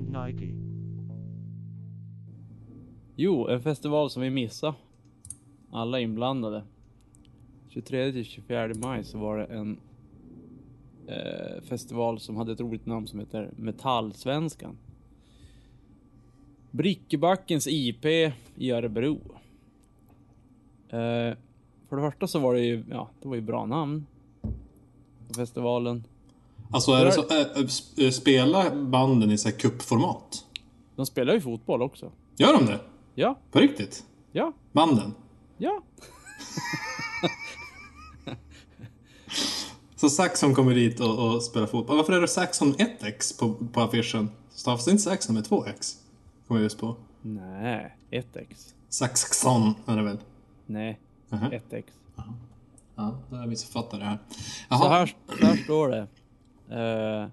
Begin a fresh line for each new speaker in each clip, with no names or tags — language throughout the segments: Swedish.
Nike.
Jo, en festival som vi missade. Alla inblandade. 23 till 24 maj så var det en eh, festival som hade ett roligt namn som heter Metallsvenskan. Brickebackens IP i Örebro. Eh, för det första så var det ju, ja, det var ju bra namn. På festivalen.
Alltså är det så, äh, äh, sp- äh, spelar banden i så här cupformat?
De spelar ju fotboll också.
Gör de det?
Ja,
På riktigt?
ja,
Banden?
ja.
Så Saxon kommer dit och, och spelar fotboll. Varför är det Saxon 1x på, på affischen? Stavas det inte Saxon med 2x? Kommer jag just på.
Nej, 1x.
Saxon är det väl?
Nej,
Aha.
1x.
Ja, då har jag missuppfattat det här.
Så
Jaha,
här, så här står det. Uh,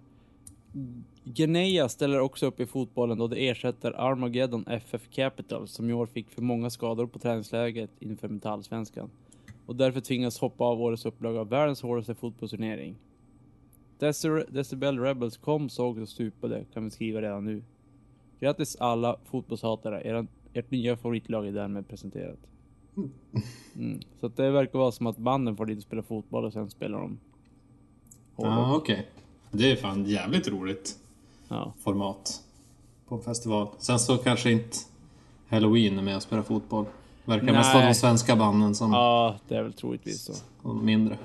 Geneia ställer också upp i fotbollen då det ersätter Armageddon FF Capital som i år fick för många skador på träningsläget inför Metallsvenskan och därför tvingas hoppa av årets upplaga av världens hårdaste fotbollsturnering. Dece- Decibel Rebels kom, såg och stupade, kan vi skriva redan nu. Grattis alla fotbollshatare, er, ert nya favoritlag är därmed presenterat. Mm. Så att det verkar vara som att banden får dit och spela fotboll och sen spelar de
ja, okej. Det är fan jävligt roligt
Ja.
format på en festival. Sen så kanske inte Halloween är med och spelar fotboll. Verkar mest vara
Nej.
de svenska banden som
Ja, det är väl troligtvis så.
de mindre.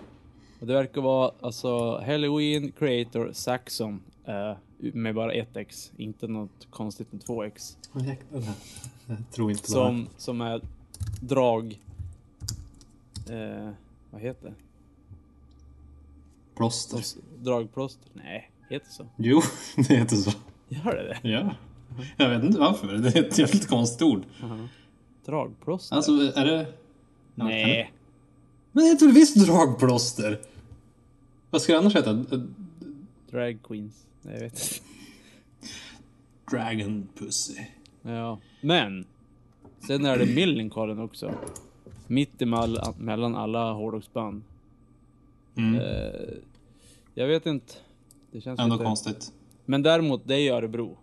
Och det verkar vara alltså Halloween Creator Saxon eh, med bara 1x, inte något konstigt med 2x.
Åh, jäklar, det här. Jag tror inte på det här.
Som, som är drag... Eh, vad heter det?
Plåster.
Alltså, Dragplåster? Nej, heter det så?
Jo, det heter så.
Gör det det?
Ja. Jag vet inte varför. Det är ett jävligt konstigt ord.
Dragplåster?
Alltså, är det...
Nej.
Men det heter väl visst dragplåster? Vad ska det annars heta?
Drag queens. Nej, jag vet inte.
Dragon pussy.
Ja, men. Sen är det Millencolin också. Mitt emell- mellan alla hårdrocksband.
Mm.
Eh, jag vet inte. Det känns
Ändå
lite...
konstigt.
Men däremot, det är ju Örebro.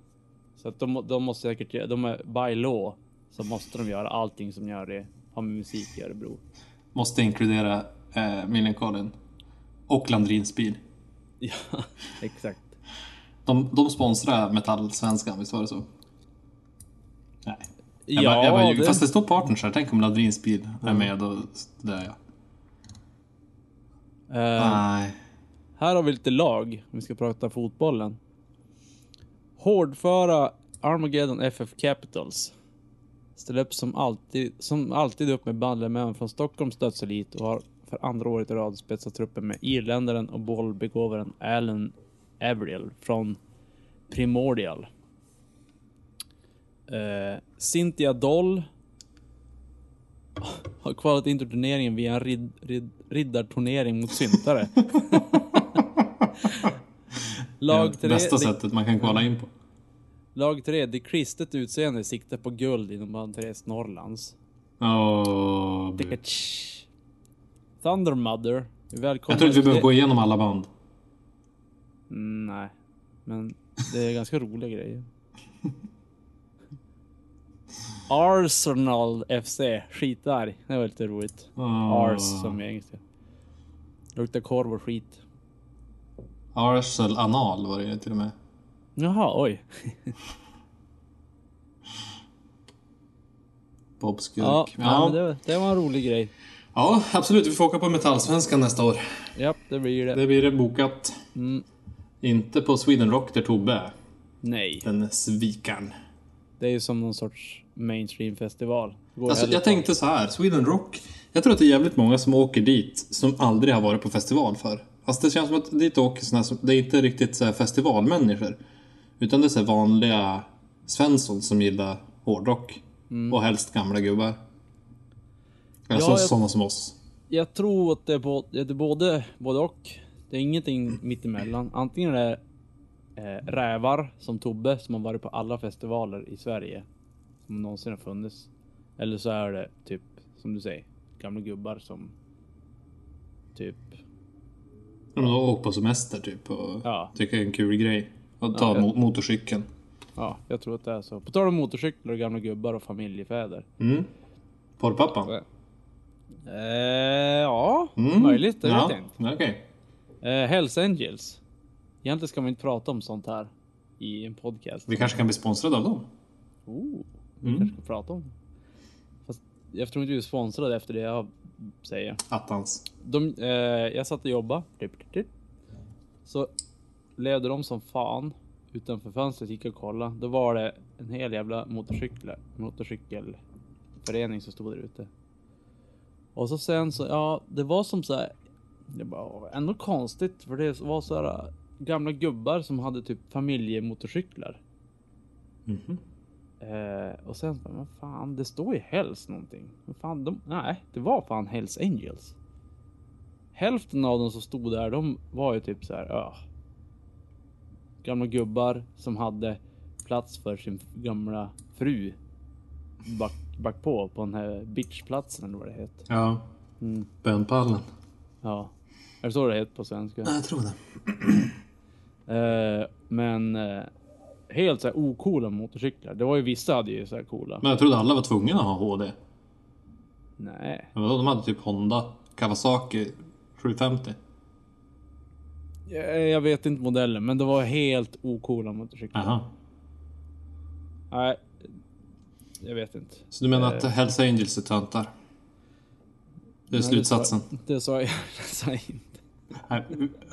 Så att de, de måste säkert göra, de är by law, så måste de göra allting som gör det, har med musik i Örebro.
Måste inkludera eh, Millencolin. Och Landrins bil.
Ja, exakt.
De, de sponsrar Metallsvenskan, visst var det så? Nej. Jag bara, jag bara, ljuger. Fast det står partners här. Tänk om Landrins bil är
Mm.
med och där ja.
Eh,
Nej.
Här har vi lite lag, om vi ska prata fotbollen. Hårdföra Armageddon FF Capitals. Ställer upp som alltid, som alltid upp med bandlemän från Stockholms dödselit och har för andra året i rad spetsat truppen med irländaren och bollbegåvaren Alan Averill från Primordial. Eh, Cynthia Doll har kvalat in till turneringen via en rid, rid, riddarturnering mot syntare. Lag
det
tre,
bästa
det,
sättet man kan kolla in på.
lag tre, det kristet utseende siktar på guld inom Andreas Norrlands.
Åh, bu.
Thunder Mother, välkommen.
jag tror inte vi behöver gå igenom alla band.
Mm, Nej, men det är ganska roliga grejer. Arsenal FC, skitarg. Det var lite roligt.
Åh.
Ars som är engelska. Luktar korv och skit.
Arsel Anal var det ju till och med.
Jaha, oj.
Bob Skurk.
Ja,
Ja,
ja. Men det, var- det var en rolig grej.
Ja, absolut. Vi får åka på Metallsvenskan nästa år.
Ja, det blir det.
Det blir det bokat.
Mm.
Inte på Sweden Rock där Tobbe är.
Nej,
Den svikaren.
det är ju som någon sorts mainstream-festival. Det går
Alltså,
heller
jag
inte.
tänkte så här, Sweden Rock. Jag tror att det är jävligt många som åker dit som aldrig har varit på festival för. Alltså det känns som att dit åker såna här, som- det är inte riktigt så här festivalmänniskor. Utan det är så här vanliga Svensson som gillar hårdrock. Och helst gamla gubbar. Alltså
Mm. jag-
sådana som oss.
Jag tror att det är, både, det är både, både och. Det är ingenting mittemellan. Antingen är det eh, rävar som Tobbe som har varit på alla festivaler i Sverige som någonsin har funnits. Eller så är det typ som du säger gamla gubbar som typ
De har åkt på semester typ och
Ja.
tycker det är en kul grej. Att ta mo- motorcykeln.
Ja, jag tror att det är så. På tal om motorcyklar och gamla gubbar och familjefäder.
Mm. Porrpappan?
Eh, ja,
Mm.
möjligt. Det
ja.
vet jag inte.
Okej.
Eh, Hells Angels. Egentligen ska man inte prata om sånt här i en podcast.
Vi kanske kan bli sponsrade av dem?
Oh, vi
Mm.
kanske ska prata om. Fast jag tror inte vi är sponsrade efter det jag säger.
Attans.
De, eh, jag satt och jobbade. Typ, typ, typ. Så levde de som fan. Utanför fönstret gick jag och kollade. Då var det en hel jävla motorcykel, motorcykelförening som stod där ute. Och så sen så, ja, det var som så här. Det var ändå konstigt för det var så här gamla gubbar som hade typ familjemotorcyklar.
Mhm.
Eh, och sen så bara, men fan, det står ju Hells någonting. Men fan, de, nej, det var fan Hells Angels. Hälften av dem som stod där, de var ju typ så här, ja. Gamla gubbar som hade plats för sin gamla fru. Back, back på, på den här bitchplatsen eller vad det heter.
Ja.
Mm.
Bönpallen.
Ja, är det så det heter på svenska?
Ja, jag tror det.
Eh, men eh, helt så här ocoola motorcyklar. Det var ju vissa hade ju så här coola.
Men jag trodde alla var tvungna att ha HD.
Nej.
Men vadå, de hade typ Honda, Kawasaki 750.
Eh, Jag, jag vet inte modellen, men det var helt ocoola motorcyklar.
Aha.
Nej, jag vet inte.
Så du menar att Hells Angels är töntar? Eh. Det är
Nej,
slutsatsen.
Det sa jag, det sa jag inte.
Nej,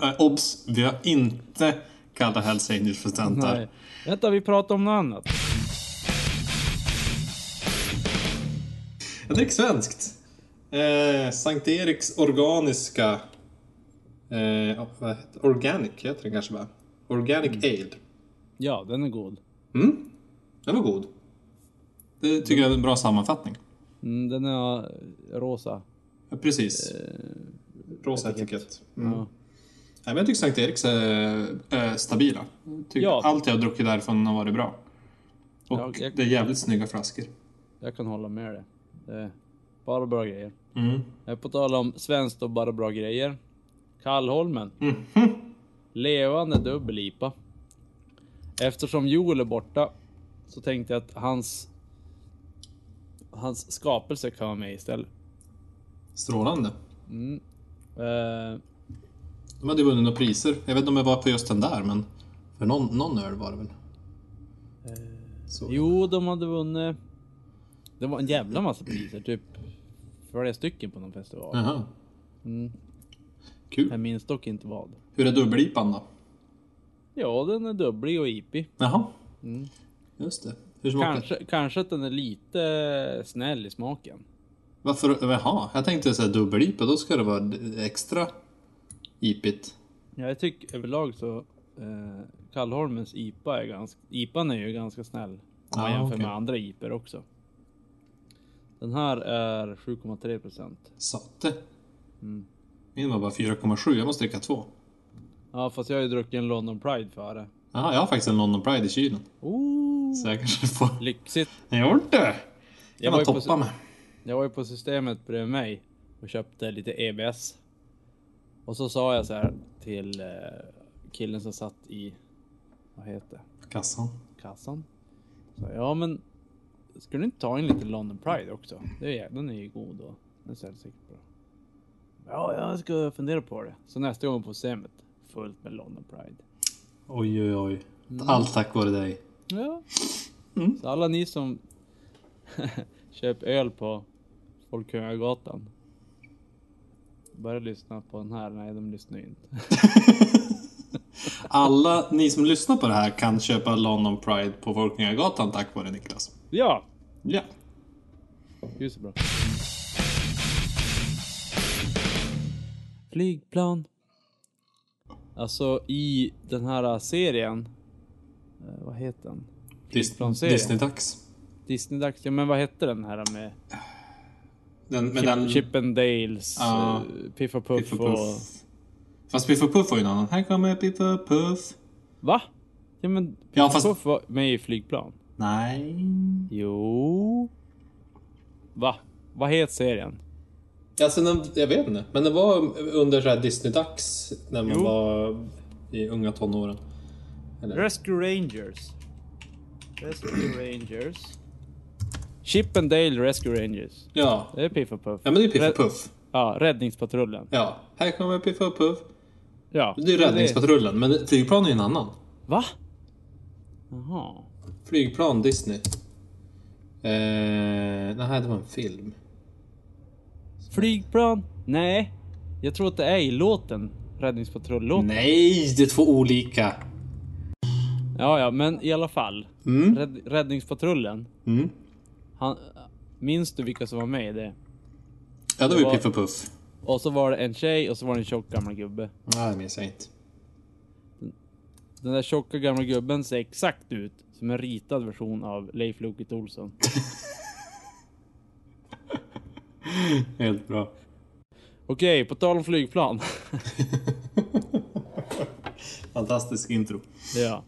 eh, Obs! Vi har inte kallat Hells Angels för
Nej.
töntar.
Vänta, vi pratar om något annat.
Jag dricker svenskt. Eh, Sankt Eriks organiska... Eh, vad heter det? Organic heter den kanske bara. Organic Ale.
Ja, den är god.
Mm. Den var god. Det tycker jag är en bra sammanfattning.
Mm, den är eh, rosa.
Ja, precis.
Eh,
Rosa
etikett.
etikett. Mm.
Ja.
Nej, men jag tycker Sankt Eriks är, är stabila. Jag tycker
Ja.
Allt jag har druckit därifrån har varit bra. Och
Ja, jag-
det är jävligt snygga flaskor.
Jag kan hålla med dig. Det är bara bra grejer.
Mm.
Eh, På tal om svenskt och bara bra grejer. Kallholmen. Levande dubbel IPA. Eftersom Joel är borta så tänkte jag att hans hans skapelse kan vara med istället.
Strålande.
Eh,
De hade vunnit några priser. Jag vet inte om det var på just den där, men för någon, någon öl var det väl? Så.
Eh, jo, de hade vunnit. Det var en jävla massa priser, typ flera stycken på någon festival.
Jaha.
Jag
Kul.
minns dock inte vad.
Hur är dubbel-IPan då?
Ja, den är dubblig och ipig.
Jaha. Just det. Hur smakar
Mm. Kanske, kanske att den är lite eh, snäll i smaken.
Varför? Jaha, jag tänkte säga dubbel-IPA, då ska det vara extra IPigt.
Ja, jag tycker överlag så eh, Kallholmens IPA är ganska, IPAn är ju ganska snäll om man
Ah,
jämför
okej.
med andra IPor också. Den här är 7,3 procent.
Satte.
Mm.
Min var bara 4,7, jag måste dricka två.
Ja, fast jag har ju druckit en London Pride före.
Jaha, jag har faktiskt en London Pride i kylen.
Oh,
Så jag kanske får...
lyxigt.
Jag gjorde det!
Jag
Jag
var ju
var
på
toppa
sy-
med.
Jag var ju på systemet bredvid mig och köpte lite EBS. Och så sa jag så här till eh, killen som satt i, vad heter det?
Kassan.
kassan. Så, ja men, ska du inte ta en liten London Pride också? Det är, den är ju god och den säljs säkert bra. Ja, jag ska fundera på det. Så nästa gång på Semet, fullt med London Pride.
Oj, oj, oj. Mm. Allt tack vare dig.
Ja.
Mm.
Så alla ni som köper öl på Folkungagatan. Börja lyssna på den här. Nej, de lyssnar ju inte.
Alla ni som lyssnar på det här kan köpa London Pride på Folkungagatan tack vare Niklas.
ja,
Ja.
Gud så bra. Flygplan. Alltså i den här serien. eh, Vad heter den?
Dis-
Flygplansserien.
Disney-dags.
Disney-dags. Ja, men vad hette den här med
Den, men
Chip,
den...
Chip and Dales,
Ja.
eh, Piff och Puff,
Piff och
och...
Puff. Fast Piff och Puff var ju en annan. Här kommer Piff och Puff.
Va? Ja men Piff
Ja,
och
fast-
Puff var med i Flygplan.
Nej.
Jo. Va? Vad heter serien?
Alltså, den, jag vet inte. Men det var under så här Disney-dags när man
Jo.
var i unga tonåren.
Rescue Rangers. Rescue Rangers. Chippendale Rescue Rangers.
Ja.
Det är Piff och Puff.
Ja men det är Piff
Rädd-
och Puff.
Ja, Räddningspatrullen.
Ja. Här kommer Piff och Puff.
Ja.
Det är Räddningspatrullen, men flygplan är ju en annan.
Va? Jaha.
Flygplan Disney. Eh, nej, det var en film.
Flygplan? Nej. Jag tror att det är i låten. Räddningspatrulllåten.
Nej, det är två olika.
Ja, ja, men i alla fall.
Mm.
Rädd, räddningspatrullen.
Mm.
Han, minns du vilka som var med i det?
Ja, det var ju
Det var-
Piff och Puff.
Och så var det en tjej och så var det en tjock gammal gubbe.
Nej, det minns jag inte.
Den där tjocka gamla gubben ser exakt ut som en ritad version av Leif Loket Olsson.
Helt bra.
Okej, på tal om flygplan.
Fantastisk intro.
ja.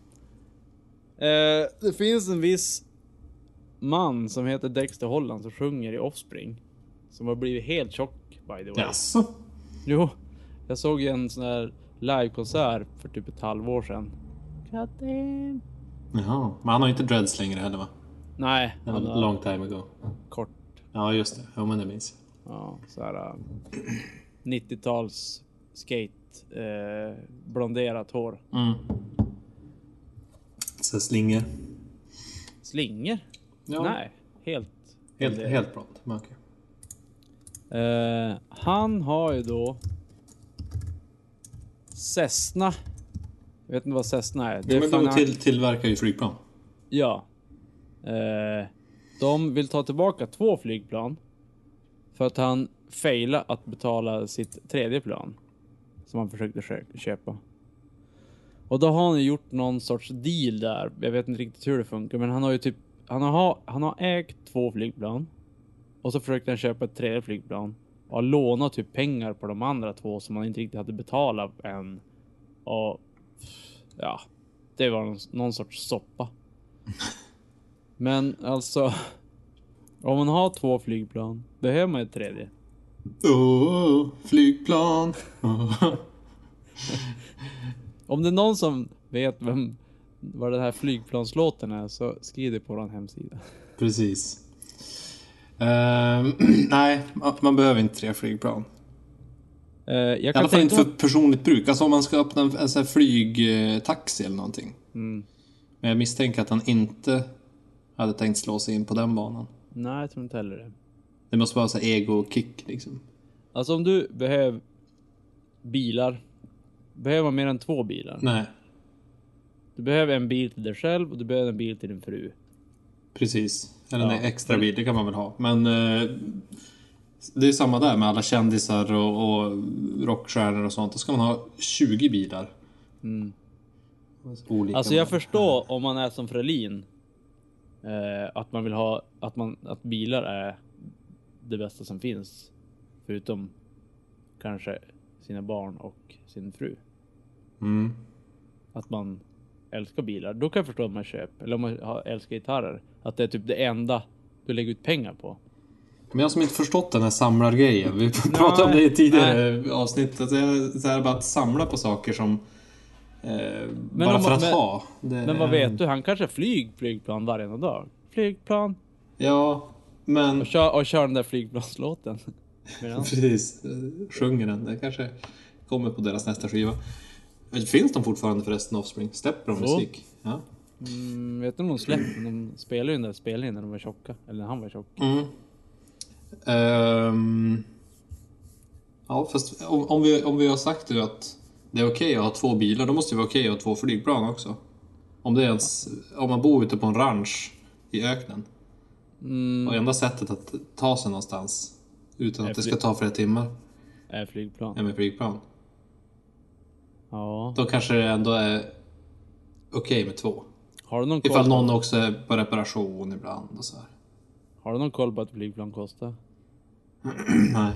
Eh, det finns en viss man som heter Dexter Holland som sjunger i Offspring. Som har blivit helt tjock by the way.
Jaså?
Jo, jag såg en sån här livekonsert för typ ett halvår sedan. God damn.
Jaha. Men han har inte dreads längre heller va?
Nej,
Det var
han har
long time ago.
kort.
Ja, just det. Jo, men det minns jag.
Ja, så här äh, 90-tals skate eh, blonderat hår.
Mm. Så slinger.
Slingor?
Ja,
Nej, helt.
Helt, helt blond. Men okej.
Eh, han har ju då Cessna. Jag vet inte vad Cessna är. Det
Ja,
är
men
fan
de
han-
till, tillverkar ju flygplan.
Ja. Eh, de vill ta tillbaka två flygplan. För att han failade att betala sitt tredje plan. Som han försökte kö- köpa. Och då har han ju gjort någon sorts deal där. Jag vet inte riktigt hur det funkar, men han har ju typ... Han har, han har ägt två flygplan. Och så försökte han köpa ett tredje flygplan. Och har lånat typ pengar på de andra två som han inte riktigt hade betalat än. Och... Ja. Det var någon, någon sorts soppa. Men alltså. Om man har två flygplan, behöver man ett tredje?
Oh, flygplan. Oh.
Om det är någon som vet vem, vad den här flygplanslåten är så skriv det på vår hemsida.
Precis. Ehm, nej, ma- man behöver inte tre flygplan.
Eh, jag
I alla
kan
fall inte
tänka
för
mig...
personligt bruk. Alltså om man ska öppna en, en sån här flygtaxi eller någonting.
Mm.
Men jag misstänker att han inte hade tänkt slå sig in på den banan.
Nej, jag tror inte heller det.
Det måste vara så här ego-kick liksom.
Alltså om du behöver bilar. Behöver man mer än två bilar?
Nej,
Du behöver en bil till dig själv och du behöver en bil till din fru.
precis. Eller
Ja.
en extra bil, det kan man väl ha. Men eh, det är samma där med alla kändisar och, och rockstjärnor och sånt. Då ska man ha 20 bilar.
Mm.
Olika
Alltså jag
modeller.
förstår om man är som Frelin. Eh, att man vill ha att man att bilar är det bästa som finns. Förutom kanske sina barn och sin fru.
Mm.
Att man älskar bilar. Då kan jag förstå att man köper. Eller om man har- älskar gitarrer. Att det är typ det enda du lägger ut pengar på.
Men jag som inte förstått den här samlargrejen. Vi pratade om det i tidigare avsnitt. Att det är så här bara att samla på saker som... Eh, bara
om-
för att
men-
ha. Det
Men vad
är-
vet du? Han kanske flyg flygplan varje dag. Flygplan.
Ja, men...
Och kör, och kör den där flygplanslåten. Medan-
Precis. eh, Sjunger den. Det kanske kommer på deras nästa skiva. Men Finns de fortfarande förresten, Offspring? Släpper de
Jo.
musik? Ja.
Mm, vet du om de släpper? De spelar ju den där spelningen när de var tjocka. Eller när han var tjock.
Mm. Ehm, ja, fast om, om, vi, om vi har sagt nu att det är okej att ha två bilar, då måste det vara okej att ha två flygplan också. Om, det är ens, om man bor ute på en ranch i öknen.
Mm,
Och enda sättet att ta sig någonstans utan att det ska ta flera timmar Mm.
är Äh, flygplan.
är med flygplan.
Ja.
Då kanske det ändå är okej med två.
Har du, någon koll
Ifall
på,
någon också är på reparation ibland och så här.
har du någon koll på att flygplan kostar?
Nej.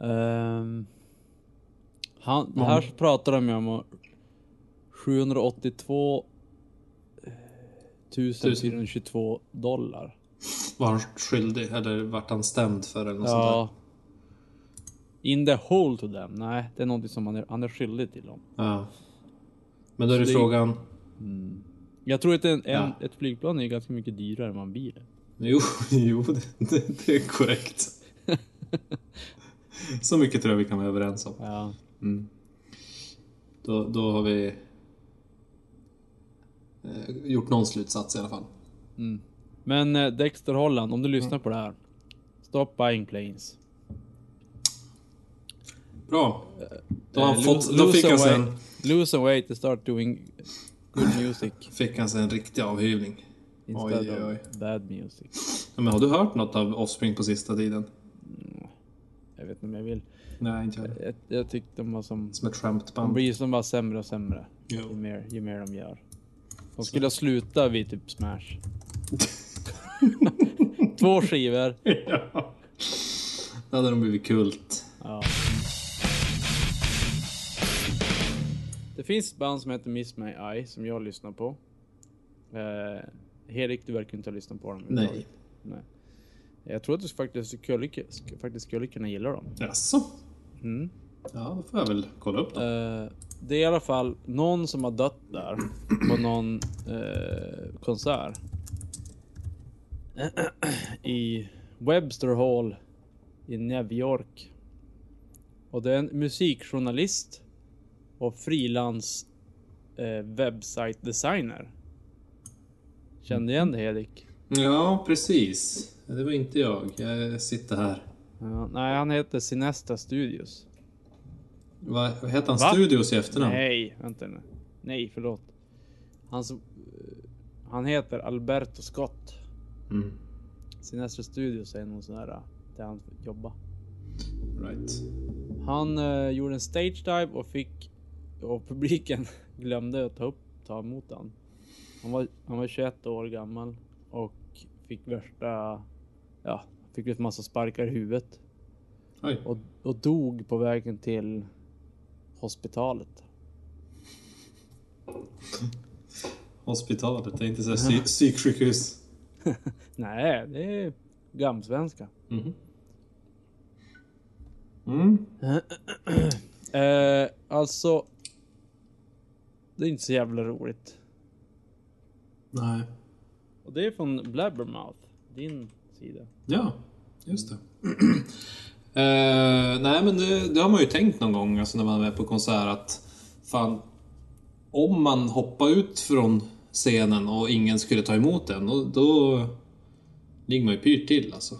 Ehm, han, det här pratar de ju om 782 eh, 1422 dollar.
Var han skyldig eller vart han stämd för eller något sånt där?
Ja. In the hole to them. Nej, det är någonting som han är, han är skyldig till dem.
Ja. Men då är det
Så det-
frågan.
Jag tror att en, en,
Ja.
ett flygplan är ganska mycket dyrare än vad en bil är.
Jo, jo det, det, det är korrekt. Så mycket tror jag vi kan vara överens om.
Ja.
Mm. Då, då har vi eh, gjort någon slutsats i alla fall.
Men eh, Dexter Holland, om du lyssnar på det här. Stop buying planes.
Bra. Då, har han
Eh,
fått,
lose-
då
lose
fick, han
away-
sen,
Lose some weight and start doing good music
fick han sen en riktig avhyvling.
instead
Oj, oj,
of bad music.
Ja, men har du hört något av Offspring på sista tiden?
Jag vet inte om jag vill.
Nej, inte jag.
Jag, jag tyckte de var som...
Som ett trampband.
De blir som bara sämre och sämre.
Jo.
Ju mer, ju mer de gör. De skulle ha slutat vid typ Smash. Två skivor.
ja. Då hade de blivit kult.
Ja. Det finns ett band som heter Miss My Eye som jag lyssnar på. Eh, Herik, du verkar inte ha lyssnat på dem.
Nej.
Nej. Jag tror att du faktiskt skulle, sk- faktiskt skulle kunna gilla dem.
Jaså?
Mm.
Ja, då får jag väl kolla upp det.
Eh, det är i alla fall någon som har dött där på någon eh, konsert. I Webster Hall i New York. Och det är en musikjournalist och frilans eh, website designer. Kände igen det Erik?
Ja, precis. Det var inte jag. Jag sitter här.
Ja, nej, han heter Sinesta Studios.
Vad vad heter han?
Va?
Studios i efternamn?
Nej, vänta nu. Nej, förlåt. Hans, eh, han heter Alberto Scott.
Mm.
Sinestro Studios är någon sån här eh, där han jobbar.
Right.
Han eh, gjorde en stage dive och fick och publiken glömde att ta, upp, ta emot han. Han var, han var 21 år gammal och fick värsta, ja, fick en massa sparkar i huvudet
Oj.
och, och dog på vägen till hospitalet.
Hospitalet, det är inte så här psy- psyksjukhus.
Nej, det är gamsvenska.
Mhm. Mm.
Eh, alltså. Det är inte så jävla roligt.
Nej.
Och det är från Blabbermouth. Din sida.
Ja, just det. Eh, nej, men det, det har man ju tänkt någon gång alltså när man är på konsert att fan, om man hoppar ut från scenen och ingen skulle ta emot en, då, då ligger man ju pyrt till alltså.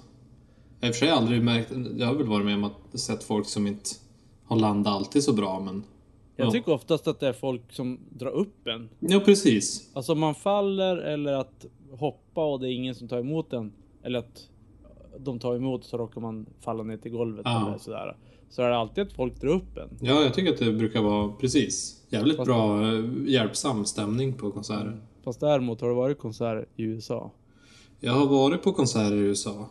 Jag har i och för sig aldrig märkt, jag har väl varit med om att sett folk som inte har landat alltid så bra, men
Jag
Ja.
tycker oftast att det är folk som drar upp en.
ja, precis.
Alltså om man faller eller att hoppa och det är ingen som tar emot en. Eller att de tar emot så råkar man falla ner till golvet
Ja.
eller sådär. Så är det alltid att folk drar upp en.
Ja, jag tycker att det brukar vara precis jävligt bra eh, hjälpsam stämning på konserter.
Fast däremot har det varit konsert i USA.
Jag har varit på konserter i USA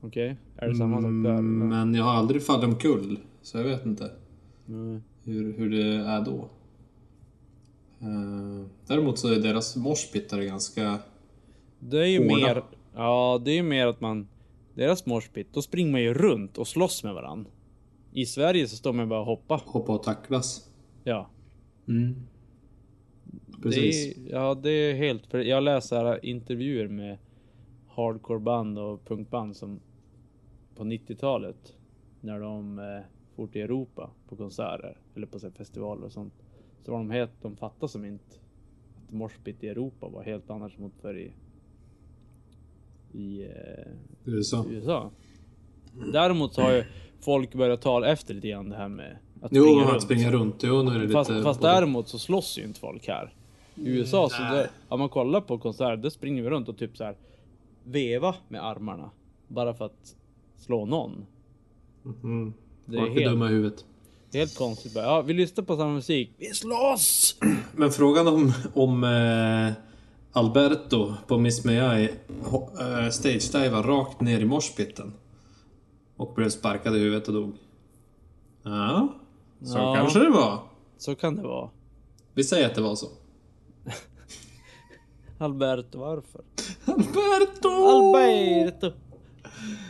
Okej? Är det samma sak där?
Mm,
eller?
Men jag har aldrig fallit omkull, så jag vet inte
Nej.
hur, hur det är då. Eh, däremot så är deras morspittar ganska...
Det är ju
Hårda.
mer... Ja, det är ju mer att man... Deras morspit, då springer man ju runt och slåss med varann. I Sverige så står man bara och hoppar.
hoppa och tacklas.
Ja. Mm.
Precis.
Det är, ja, det är helt... För jag läser här intervjuer med hardcoreband och punkband som på 90-talet när de eh, for till Europa på konserter eller på så här festivaler och sånt. Så var de helt... De fattade som inte att morspit i Europa var helt annars mot för i... I... Eh,
USA.
USA. Däremot så har ju folk börjat tala efter lite grann det här med att
Jo,
springa
att
runt.
springa runt. Jo, nu är det
Fast,
lite...
fast däremot så slåss ju inte folk här. I USA, så det, om man kollar på konserter, då springer vi runt och typ så här veva med armarna. Bara för att slå någon.
Mm.
Det är
Folk är
helt,
dumma i huvudet.
helt konstigt. bara, Ja, vi lyssnar på samma musik. Vi slåss!
Men frågan om, om eh, Alberto på Miss May I ho- eh, stagedivar rakt ner i morspitten. Och blev sparkad i huvudet och dog. Ja, så
Ja.
kanske det var.
Så kan det vara.
Vi säger att det var så.
Albert, varför?
Alberto!
Alberto!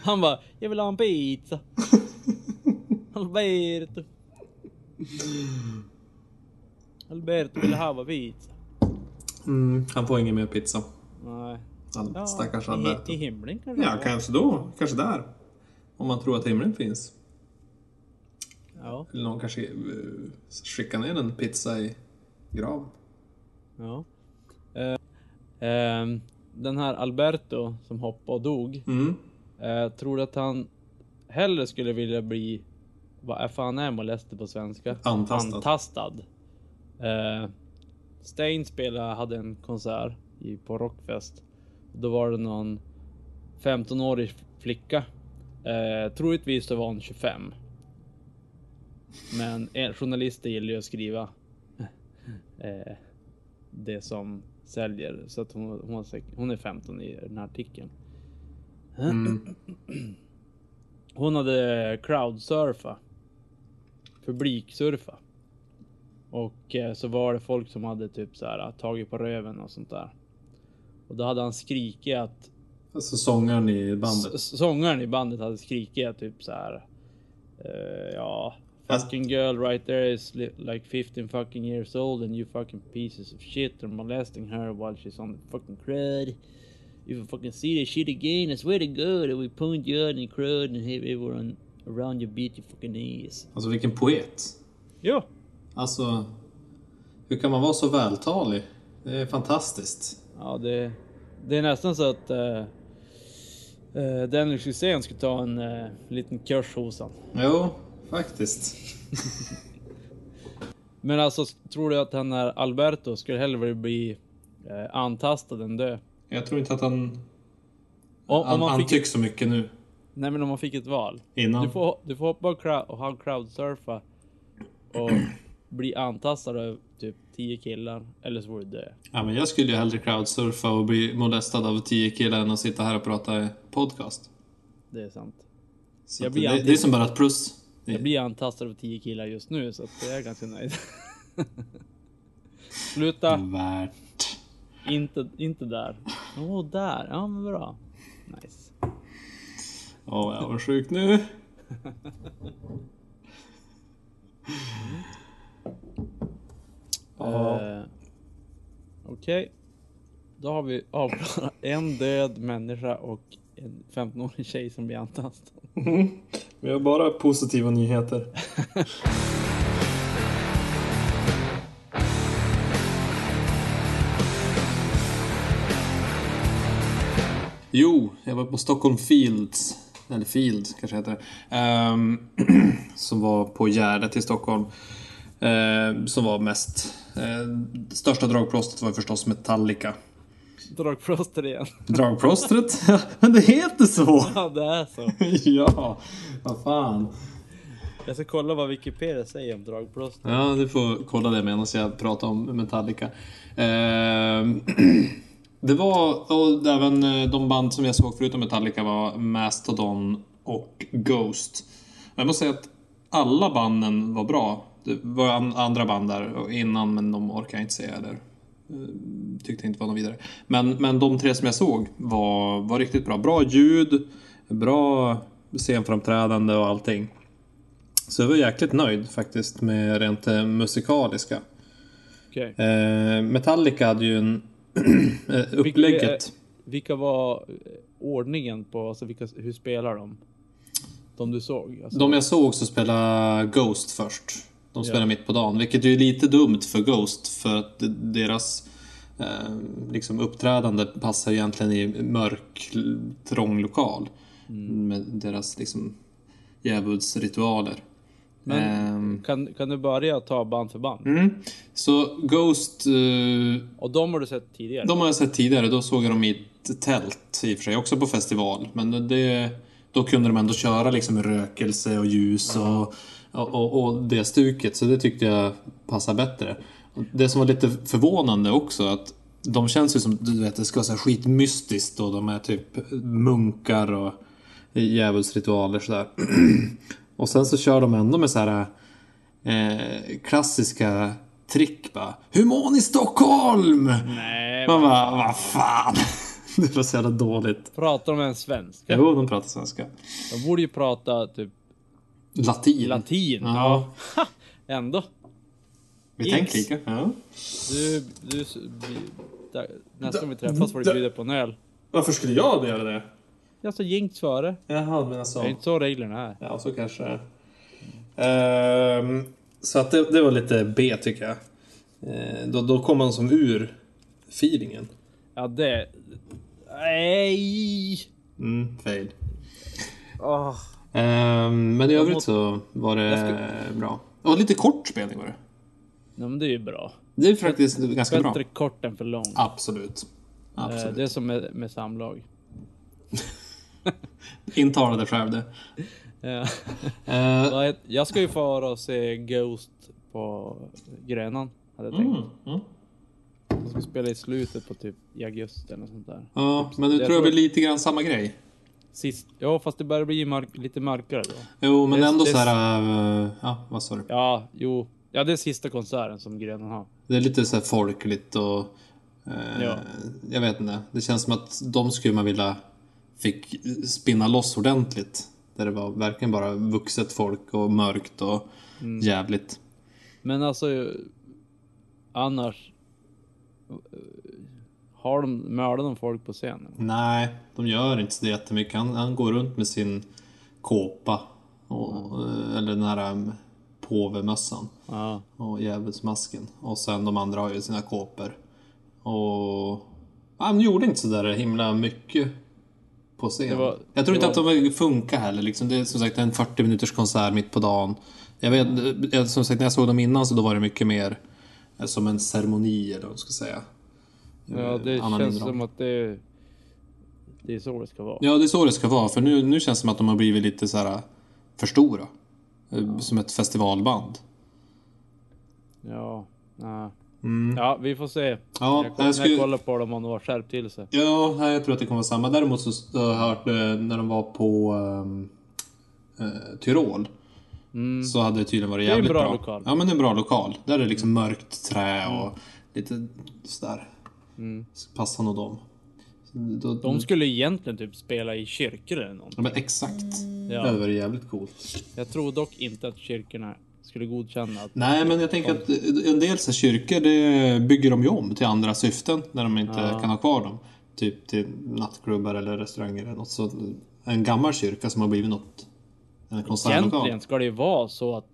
Han bara, jag vill ha en pizza. Alberto. Alberto vill ha en pizza.
Mm, han får ingen mer pizza.
Nej.
Han,
Ja,
stackars
i,
han där.
I himlen kanske?
Ja, kanske då. Kanske där. Om man tror att himlen finns.
Ja.
Eller någon kanske eh, skickar ner en pizza i graven.
ja. Eh, ehm, den här Alberto som hoppade och dog.
Mm.
Eh, tror du att han hellre skulle vilja bli, vad är fan är molester på svenska?
Antastad.
Antastad. Eh, Stein spelade, hade en konsert i, på Rockfest. Då var det någon 15-årig flicka. Eh, troligtvis så var hon 25. Men eh, journalister gillar ju att skriva eh, det som säljer. Så att hon, hon, var säk- hon är 15 i den här artikeln.
Mm.
Hon hade crowdsurfa. Publiksurfa. Och eh, så var det folk som hade typ så här tagit på röven och sånt där. Och då hade han skrikit att
Alltså sångaren i bandet.
s- sångaren i bandet hade skrikit att typ så här. eh, ja,
Fast-
fucking girl right there is li- like 15 fucking years old and you fucking pieces of shit are molesting her while she's on the fucking crud. If you fucking see this shit again, I swear to God that we point you out in the crud and have everyone around you beat your fucking ass.
Alltså vilken poet.
Ja,
Alltså, hur kan man vara så vältalig? Det är fantastiskt.
Ja, det, det är nästan så att uh, uh, Dennis Hysén skulle ta en eh, liten kurs hos han.
Jo, faktiskt.
Men alltså, s- tror du att han är Alberto skulle hellre bli eh, antastad än dö?
Jag tror inte att han,
Om, om
han,
man
han
fick,
tycks så mycket nu.
nej, men om man fick ett val.
Innan.
Du får, du får hoppa och, crowd, och ha crowdsurfa och bli antastad av typ 10 killar eller så får du dö.
Ja, men jag skulle ju hellre crowdsurfa och bli molestad av tio killar än att sitta här och prata i podcast.
Det är sant.
Så
Jag
att
blir
det,
alltid-
det är som bara ett plus. Det,
Jag blir antastad av 10 killar just nu så att det är ganska nöjd. Sluta.
Mm. Värt.
Inte, inte där. Åh, där. Ja, men bra. Nice.
Åh, jag var sjuk nu. Ja.
Eh, Okej. Då har vi avklarat en död människa och en 15-årig tjej som blir antastad.
Vi har bara positiva nyheter. jo, jag var på Stockholm Fields, eller Field kanske heter det, ehm, som var på Gärdet i Stockholm. ehm, som var mest, eh, största dragplåstret var förstås Metallica.
Dragplåster igen.
Dragplåstret? Men det heter så!
Ja, det är så.
ja, vad fan.
Jag ska kolla vad Wikipedia säger om dragplåster.
Ja, du får kolla det medan jag pratar om Metallica. Ehm, det var, och även eh, de band som jag såg förutom Metallica var Mastodon och Ghost. Jag måste säga att alla banden var bra. Det var an- andra band där och innan, men de orkar jag inte säga eller eh, tyckte inte var något vidare. Men, men de tre som jag såg var, var riktigt bra. Bra ljud, bra scenframträdande och allting. Så jag var jäkligt nöjd faktiskt med rent eh, musikaliska.
Okej.
Eh, Metallica hade ju en eh, upplägget.
Vilka var eh, ordningen på, alltså vilka, hur spelar de? De du såg? Alltså,
De jag såg så spelade Ghost först. De spelade
Ja.
mitt på dagen, vilket ju är lite dumt för Ghost för att d- deras eh, liksom uppträdande passar ju egentligen i mörk, l- trång lokal.
Mm.
Med deras liksom djävulsritualer.
Men-
Ehm,
kan, kan du börja ta band för band?
mm. Så Ghost eh,
Och de har du sett tidigare?
De har jag sett tidigare, då såg jag dem i ett tält i och för sig, också på festival. Men det, då kunde de ändå köra liksom rökelse och ljus och, och, och det stuket, så det tyckte jag passade bättre. Och Det som var lite förvånande också, att de känns ju som, du vet, det ska vara så här skitmystiskt och de är typ munkar och djävulsritualer sådär. och sen så kör de ändå med så här eh, klassiska trick bara. Hur mår ni Stockholm?
Nej,
Man bara, vad fan. Det var så jävla dåligt.
pratar de en svenska?
Jo, de pratar svenska.
De borde ju prata typ
Latin.
latin.
Ja.
Ändå.
Vi
X.
tänker lika. Ja.
Du, du, s- vi- där, nästa gång vi träffas får du bjuda på en öl.
Varför skulle jag göra det?
Jag sa jinx före.
Jaha, men alltså.
Det är inte så reglerna är.
Ja, så kanske det är. Ehm, Så att det, det var lite B tycker jag. Eh, Då, då kom man som ur feelingen.
Ja, det... Nej!
Mm, fail.
Åh.
Ehm, men i
Jag
övrigt
måste-
så var det
Jag ska-
bra. Det var lite kort spelning var det.
Nej, men det är ju bra.
Det är faktiskt ganska bra.
Bättre kort än för lång.
Absolut.
Eh,
Absolut.
Det är som med, med samlag.
Intala dig själv det.
Ja.
Eh,
Vad het- Jag ska ju fara och se Ghost på Grönan. Hade jag tänkt.
mm, mm.
De ska spela i slutet på typ i augusti eller något sånt där.
Ja, men det
Jag
tror jag
tror-
blir lite grann samma grej.
Sist... Ja, fast det börjar bli mörk... lite mörkare då.
Jo, men
Det-
ändå
det-
så här... eh, ja, vad sa du?
Ja, jo. Ja, det är sista konserten som Grönan har.
Det är lite så här folkligt och... Eh,
Ja.
Jag vet inte. Det känns som att de skulle man vilja fick spinna loss ordentligt. Där det var verkligen bara vuxet folk och mörkt och jävligt.
Men alltså annars. Har de, mördar de folk på scenen?
Nej, de gör inte så jättemycket. Han, han går runt med sin kåpa. Och, eh, Eller den här um, påvemössan.
Ja.
och djävulsmasken. Och sen de andra har ju sina kåpor. Och... Ja, de gjorde inte sådär himla mycket på scen.
Det var-
jag tror
det
inte att de funkar heller. Liksom. Det är som sagt en 40 minuters konsert mitt på dagen. Jag vet, jag- som sagt, när jag såg dem innan så då var det mycket mer eh, som en ceremoni eller vad man ska säga.
Ja, det
Eh, annan
känns
inramning.
som att det. Det är så det ska vara.
Ja, det är så det ska vara. För nu, nu känns det som att de har blivit lite så här för stora. Eh, Som ett festivalband.
Ja. Ja,
Mm.
ja vi får se.
Ja,
jag,
jag
jag,
skulle-
jag kollar på dem om de har skärpt till sig.
Ja, nej, jag tror att det kommer vara samma. Däremot så så har jag hört eh, när de var på ehm, eh, Tyrol
Mm.
så hade det tydligen varit
är en
jävligt
bra
bra.
lokal.
Ja, men det är en bra lokal. Där är det liksom mörkt trä och lite sådär.
Mm.
Så passar nog dem. Så Då,
De skulle egentligen typ spela i kyrkor eller något.
Ja, men exakt. Det hade
Ja.
varit jävligt coolt.
Jag tror dock inte att kyrkorna skulle godkänna att.
Nej, men jag tänker att en del så här, kyrkor det bygger de ju om till andra syften när de inte
Ja.
kan ha kvar dem. Typ till nattklubbar eller restauranger eller något. Så en gammal kyrka som har blivit något. En konsertlokal.
Egentligen ska det ju vara så att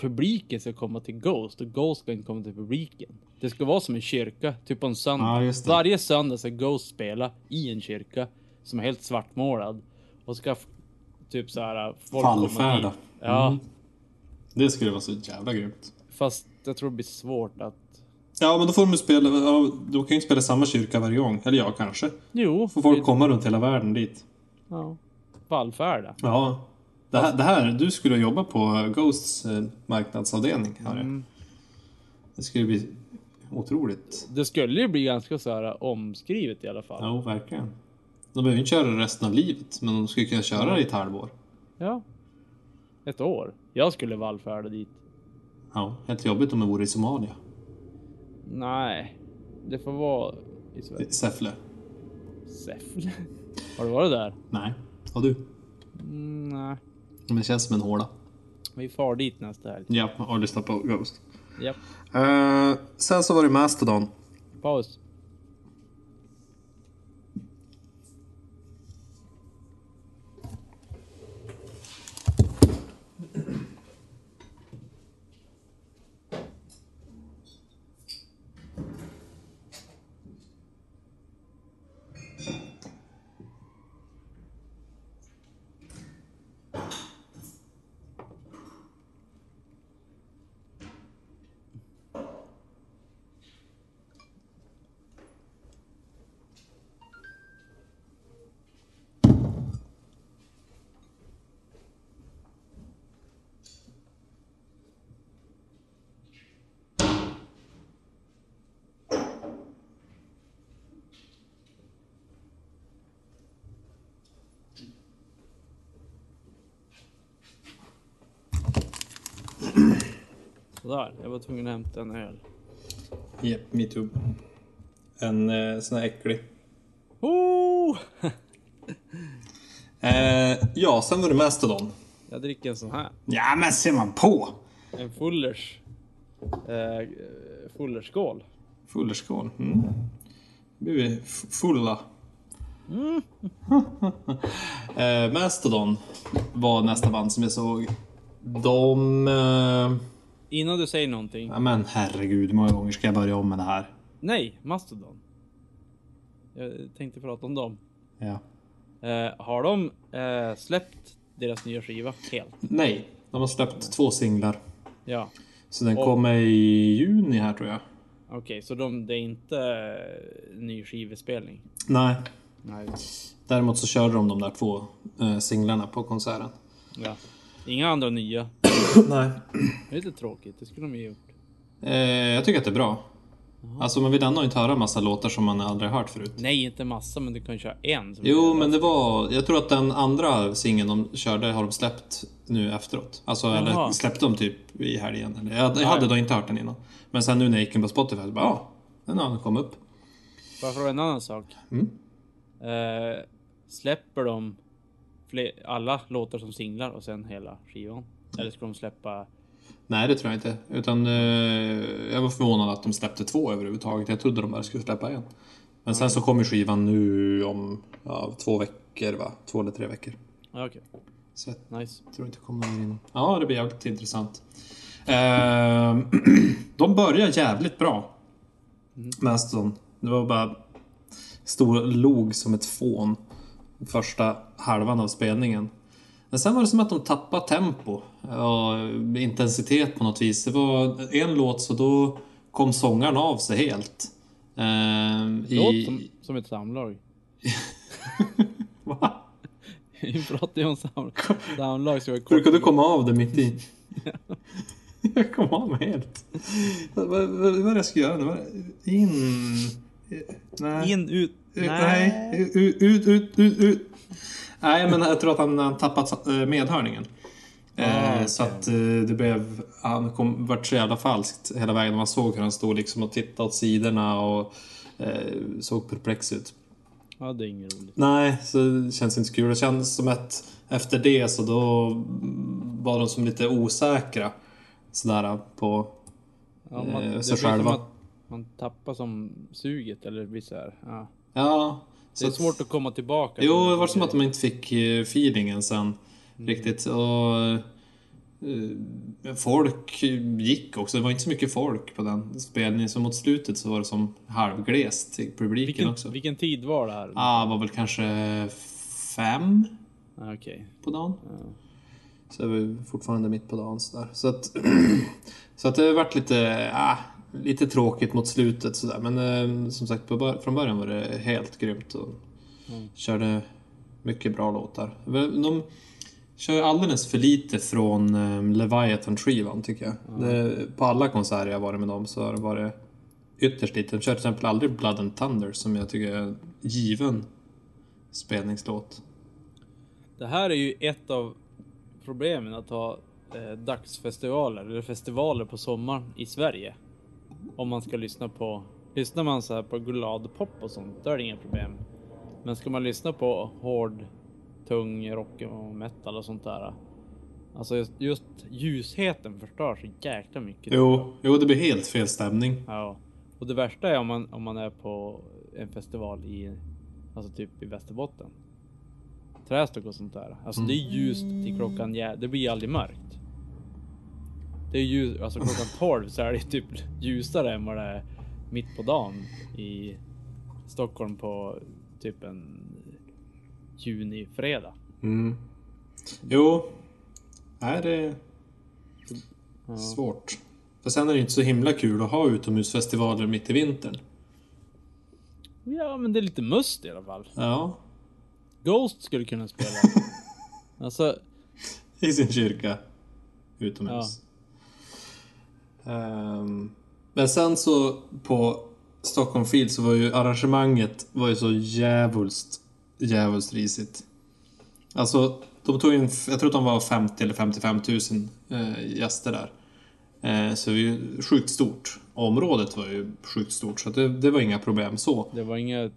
publiken ska komma till Ghost och Ghost ska inte komma till publiken. Det ska vara som en kyrka, typ på en söndag.
Ja, just det.
Varje söndag ska Ghost spela i en kyrka som är helt svartmålad. Och ska f- typ så här... folk komma dit.
Fallfärda.
Ja,
Mm. Det skulle vara så jävla grymt.
fast jag tror det blir svårt att...
Ja, men då får de ju spela, ja, då kan ju spela samma kyrka varje gång. Eller ja, kanske.
Jo,
Får folk
det-
komma runt hela världen dit.
Ja. Vallfärda.
Ja. Det här, det här du skulle jobba på Ghosts eh, marknadsavdelning. Harry.
Mm.
Det skulle bli otroligt.
Det skulle ju bli ganska så här äh, omskrivet i alla fall. Ja.
Ja, verkligen. De behöver ju inte köra resten av livet, men de skulle kunna köra det i ett halvår.
Ett år. Jag skulle vallfärda dit.
Ja, helt jobbigt om det vore i Somalia.
Nej, det får vara i Sverige.
I Säffle.
Säffle? Har du varit där?
Nej. Ja, du.
Mm, nej.
Men det känns som en håla.
Vi far dit nästa helg.
Ja, och lyssna på Ghost.
Japp.
Eh, sen så var det Mastodon.
Paus. Sådär, jag var tvungen att hämta en öl.
Japp, metoo. En eh, sån här äcklig.
Oh!
Eh, ja, sen var det Mastodon.
Jag dricker en sån här.
Ja, men ser man på!
En fullers. eh, fullerskål.
Fullerskål. Mm. Nu är vi f- fulla. eh, Mastodon var nästa band som jag såg. De... Eh,
Innan du säger någonting.
ja, men herregud, hur många gånger ska jag börja om med det här?
Nej, Mastodon. Jag tänkte prata om dem.
Ja.
Eh, har de eh, släppt deras nya skiva helt?
Nej, de har släppt två singlar.
Ja,
Så den
Och-
kommer i juni här tror jag.
okej, så de, det är inte eh, ny skivespelning?
Nej,
Nej.
däremot så körde de de där två eh, singlarna på konserten.
Ja. Inga andra nya.
Nej.
Det är lite tråkigt, det skulle de ju gjort.
Eh, jag tycker att det är bra. Alltså man vill ändå inte höra en massa låtar som man aldrig hört förut.
Nej, inte massa, men du kan ju köra en. Som
Jo, men det var... Jag tror att den andra singeln de körde har de släppt nu efteråt. Alltså, eller släppte de typ i helgen. Eller, jag, jag hade då inte hört den innan. Men sen nu när jag gick in på Spotify så bara, "Ah, ja, den har kommit upp.
Bara fråga en annan sak.
Mm.
Eh, släpper de fler, alla låtar som singlar och sen hela skivan? Eller ska de släppa?
Nej, det tror jag inte. Utan eh, jag var förvånad att de släppte två överhuvudtaget. Jag trodde de bara skulle släppa en. Men sen så kommer skivan nu om ja, två veckor, va? Två eller tre veckor.
Ja, okej,
Så jag
nice.
tror inte det kommer mer in. Ja, det blir jävligt intressant. Ehm, de börjar jävligt bra. Mm. Mastodon. Det var bara stor log som ett fån. Första halvan av spelningen. Men sen var det som att de tappade tempo och intensitet på något vis. Det var en låt så då kom sångaren av sig helt. Ehm,
Låt som, som ett samlag.
Va?
Vi pratar ju om samlag. Samlag ska vara kort.
Brukar du komma av det mitt i? jag kom av mig helt. Vad vad- vad var det jag skulle göra nu? Var det- In... Nej.
In, ut,
Ut-
nej.
Eh, Nej. Ut, ut, ut, ut, ut. Nej, men jag tror att han, han tappat eh, medhörningen. eh,
Ah,
Så att eh, det blev... Han kom, vart så jävla falskt hela vägen. Man såg hur han stod liksom och tittade åt sidorna och eh, såg perplex ut.
Ja, det är inget roligt.
Nej, så det känns inte så kul. Det känns som att efter det så då var de som lite osäkra. Sådär på...
Ja, man, det
Eh, sig
blir som
själva.
att man tappar som suget eller blir så här. Ja.
Ja.
Det
Så
är
att-
svårt att komma tillbaka.
Jo,
till
det var som att de inte fick eh, feelingen sen
Mm.
riktigt. Och eh, folk gick också. Det var inte så mycket folk på den spelningen. Så mot slutet så var det som halvglest i publiken
vilken,
också.
vilken tid var det här?
Ah, det var väl kanske fem
Ja, Ah, Okej.
på dagen. Så är vi fortfarande mitt på dagen sådär. Så att, så att det har varit lite, ah, lite tråkigt mot slutet sådär. Men eh, som sagt, på, bör- från början var det helt grymt och körde mycket bra låtar. Men De kör ju alldeles för lite från eh, Leviathan-skivan tycker jag. Det, på alla konserter jag varit med dem så har det varit ytterst lite. De kör till exempel aldrig Blood and Thunder som jag tycker är en given spelningslåt.
Det här är ju ett av problemen att ha eh, dagsfestivaler eller festivaler på sommaren i Sverige. Om man ska lyssna på, lyssnar man så här på gladpop och sånt, då är det inga problem. Men ska man lyssna på hård, tung rock och metal och sånt där. Alltså just, just ljusheten förstör så jäkla mycket.
Jo, jo, det blir helt fel stämning.
Ja, och det värsta är om man, om man är på en festival i, alltså typ i Västerbotten. Trästock och sånt där. Alltså det är ljust till klockan, jä- det blir aldrig mörkt. Det är ljus, alltså klockan 12 så är det typ ljusare än vad det är mitt på dagen i Stockholm på typ en junifredag.
Mm. Jo. Nej, det är svårt. För sen är det inte så himla kul att ha utomhusfestivaler mitt i vintern.
Ja, men det är lite must i alla fall.
Ja,
Ghost skulle kunna spela. Alltså,
i sin kyrka. Utomhus. Ehm, men sen så på Stockholm Field så var ju arrangemanget var ju så jävulst, jävulst risigt. Alltså, de tog in, jag tror att de var 50 eller 55 000 eh, gäster där. Eh, så det är ju sjukt stort. Området var ju sjukt stort, så att det, det var inga problem så.
det var inga,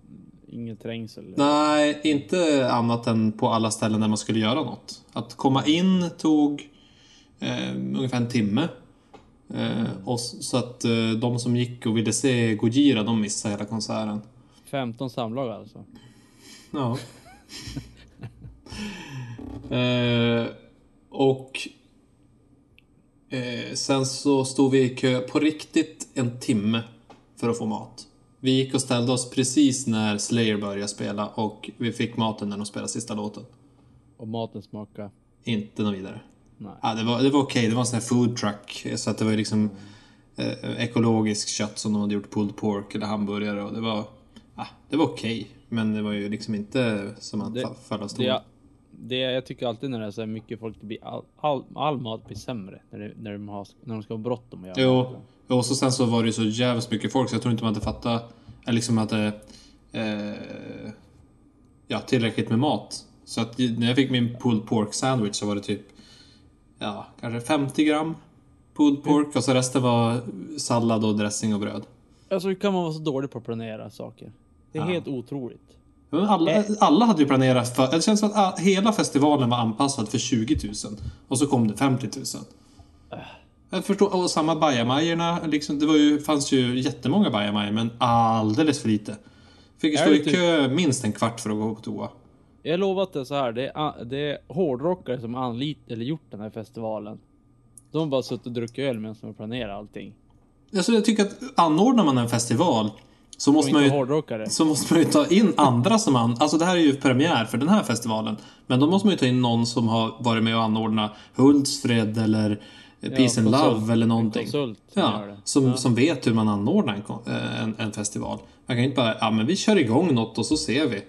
ingen trängsel.
Nej, inte annat än på alla ställen där man skulle göra något. Att komma in tog eh, ungefär en timme. Eh, och s- så att eh, de som gick och ville se Gojira, de missade hela konserten.
15 samlag alltså.
Ja. eh, och eh, sen så stod vi i kö på riktigt en timme för att få mat. Vi gick och ställde oss precis när Slayer började spela och vi fick maten när de spelade sista låten.
Och maten smakar...
Inte något vidare.
Nej.
Ja, det var, det var okej, det var en sån här food truck. Så att det var ju liksom eh, ekologiskt kött som de hade gjort pulled pork eller hamburgare och det var... Ja, det var okej. Men det var ju liksom inte som att
Det-
fa- falla
Det,
stol.
jag- det jag tycker alltid när det är så här mycket folk, det blir all, all, all mat blir sämre när, det, när, de har, när de ska ha bråttom att göra
Jo,
maten.
och så sen så var det ju så jävligt mycket folk så jag tror inte man hade fattat... Eller liksom hade... Eh, ja, tillräckligt med mat. Så att ju- när jag fick min pulled pork sandwich så var det typ... Ja, kanske 50 gram pulled pork och så resten var sallad och dressing och bröd.
Alltså hur kan man vara så dålig på att planera saker? Det är
Ja.
helt otroligt.
Ja, men
Eh.
Alla, alla hade ju planerat för... Det känns som att ah, hela festivalen var anpassad för 20 000. Och så kom det 50 000.
Eh.
Jag förstår, och samma bajamajorna. Liksom, det var ju, fanns ju jättemånga bajamajor, men alldeles för lite. Fick ju
Jag
stå
är typ-
i
lite-
kö minst en kvart för att gå på toa.
Jag lovar att det är så här, det är, a- det är hårdrockare som anlitat eller gjort den här festivalen. De har bara suttit och druckit öl medan de planerar allting.
Alltså, jag tycker att anordnar man en festival så
Och
måste man
inte
ju...
hårdrockare.
Så måste man ju ta in andra som an... Alltså det här är ju premiär för den här festivalen. Men då måste man ju ta in någon som har varit med och anordnat Hultsfred eller eh, Peace and
konsult.
Love eller någonting.
konsult som
ja,
gör det.
som, som vet hur man anordnar en, kon- eh, en, en festival. Man kan ju inte bara, ja men vi kör igång något och så ser vi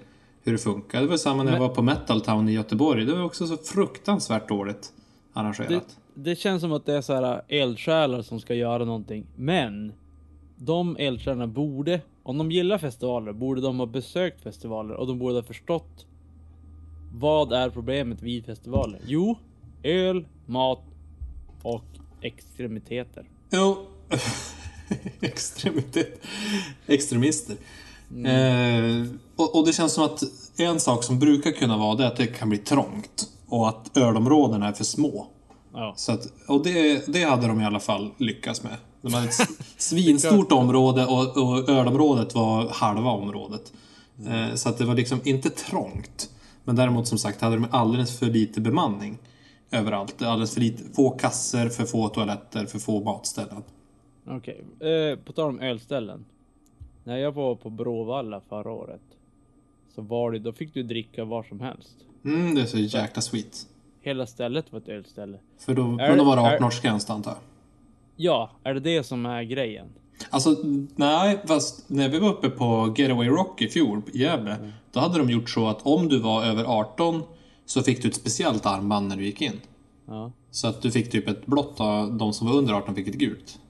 hur det funkar. Det var samma när jag
Men-
var på Metal Town i Göteborg. Det var också så fruktansvärt dåligt arrangerat.
Det, det känns som att det är så här äh, eldsjälar som ska göra någonting. Men de eldsjälarna borde, om de gillar festivaler, borde de ha besökt festivaler och de borde ha förstått. Vad är problemet vid festivaler? Jo, öl, mat och extremiteter.
Jo. Extremitet. Extremister. Eh, och, och det känns som att en sak som brukar kunna vara det är att det kan bli trångt. Och att ölområdena är för små.
Ja.
Så att, och det, det hade de i alla fall lyckats med. De hade ett s- svinstort område och, och ölområdet var halva området. Eh, så att det var liksom inte trångt. Men däremot som sagt hade de alldeles för lite bemanning överallt. Alldeles för lite, få kasser, för få toaletter, för få matställen.
Okej, eh, på tal om ölställen. När jag var på Bråvalla förra året. Så var det, då fick du dricka var som helst.
Mm, det är så jäkla sweet.
Hela stället var ett ölställe.
För då,
Är-
men då var det
är-
18-årsgräns då, antar jag.
Ja, är det det som är grejen?
Alltså, nej, fast när vi var uppe på Getaway Rock i fjol i Gävle,
Mm.
då hade de gjort så att om du var över 18 så fick du ett speciellt armband när du gick in.
Ja.
Så att du fick typ ett blått och de som var under 18 fick ett gult.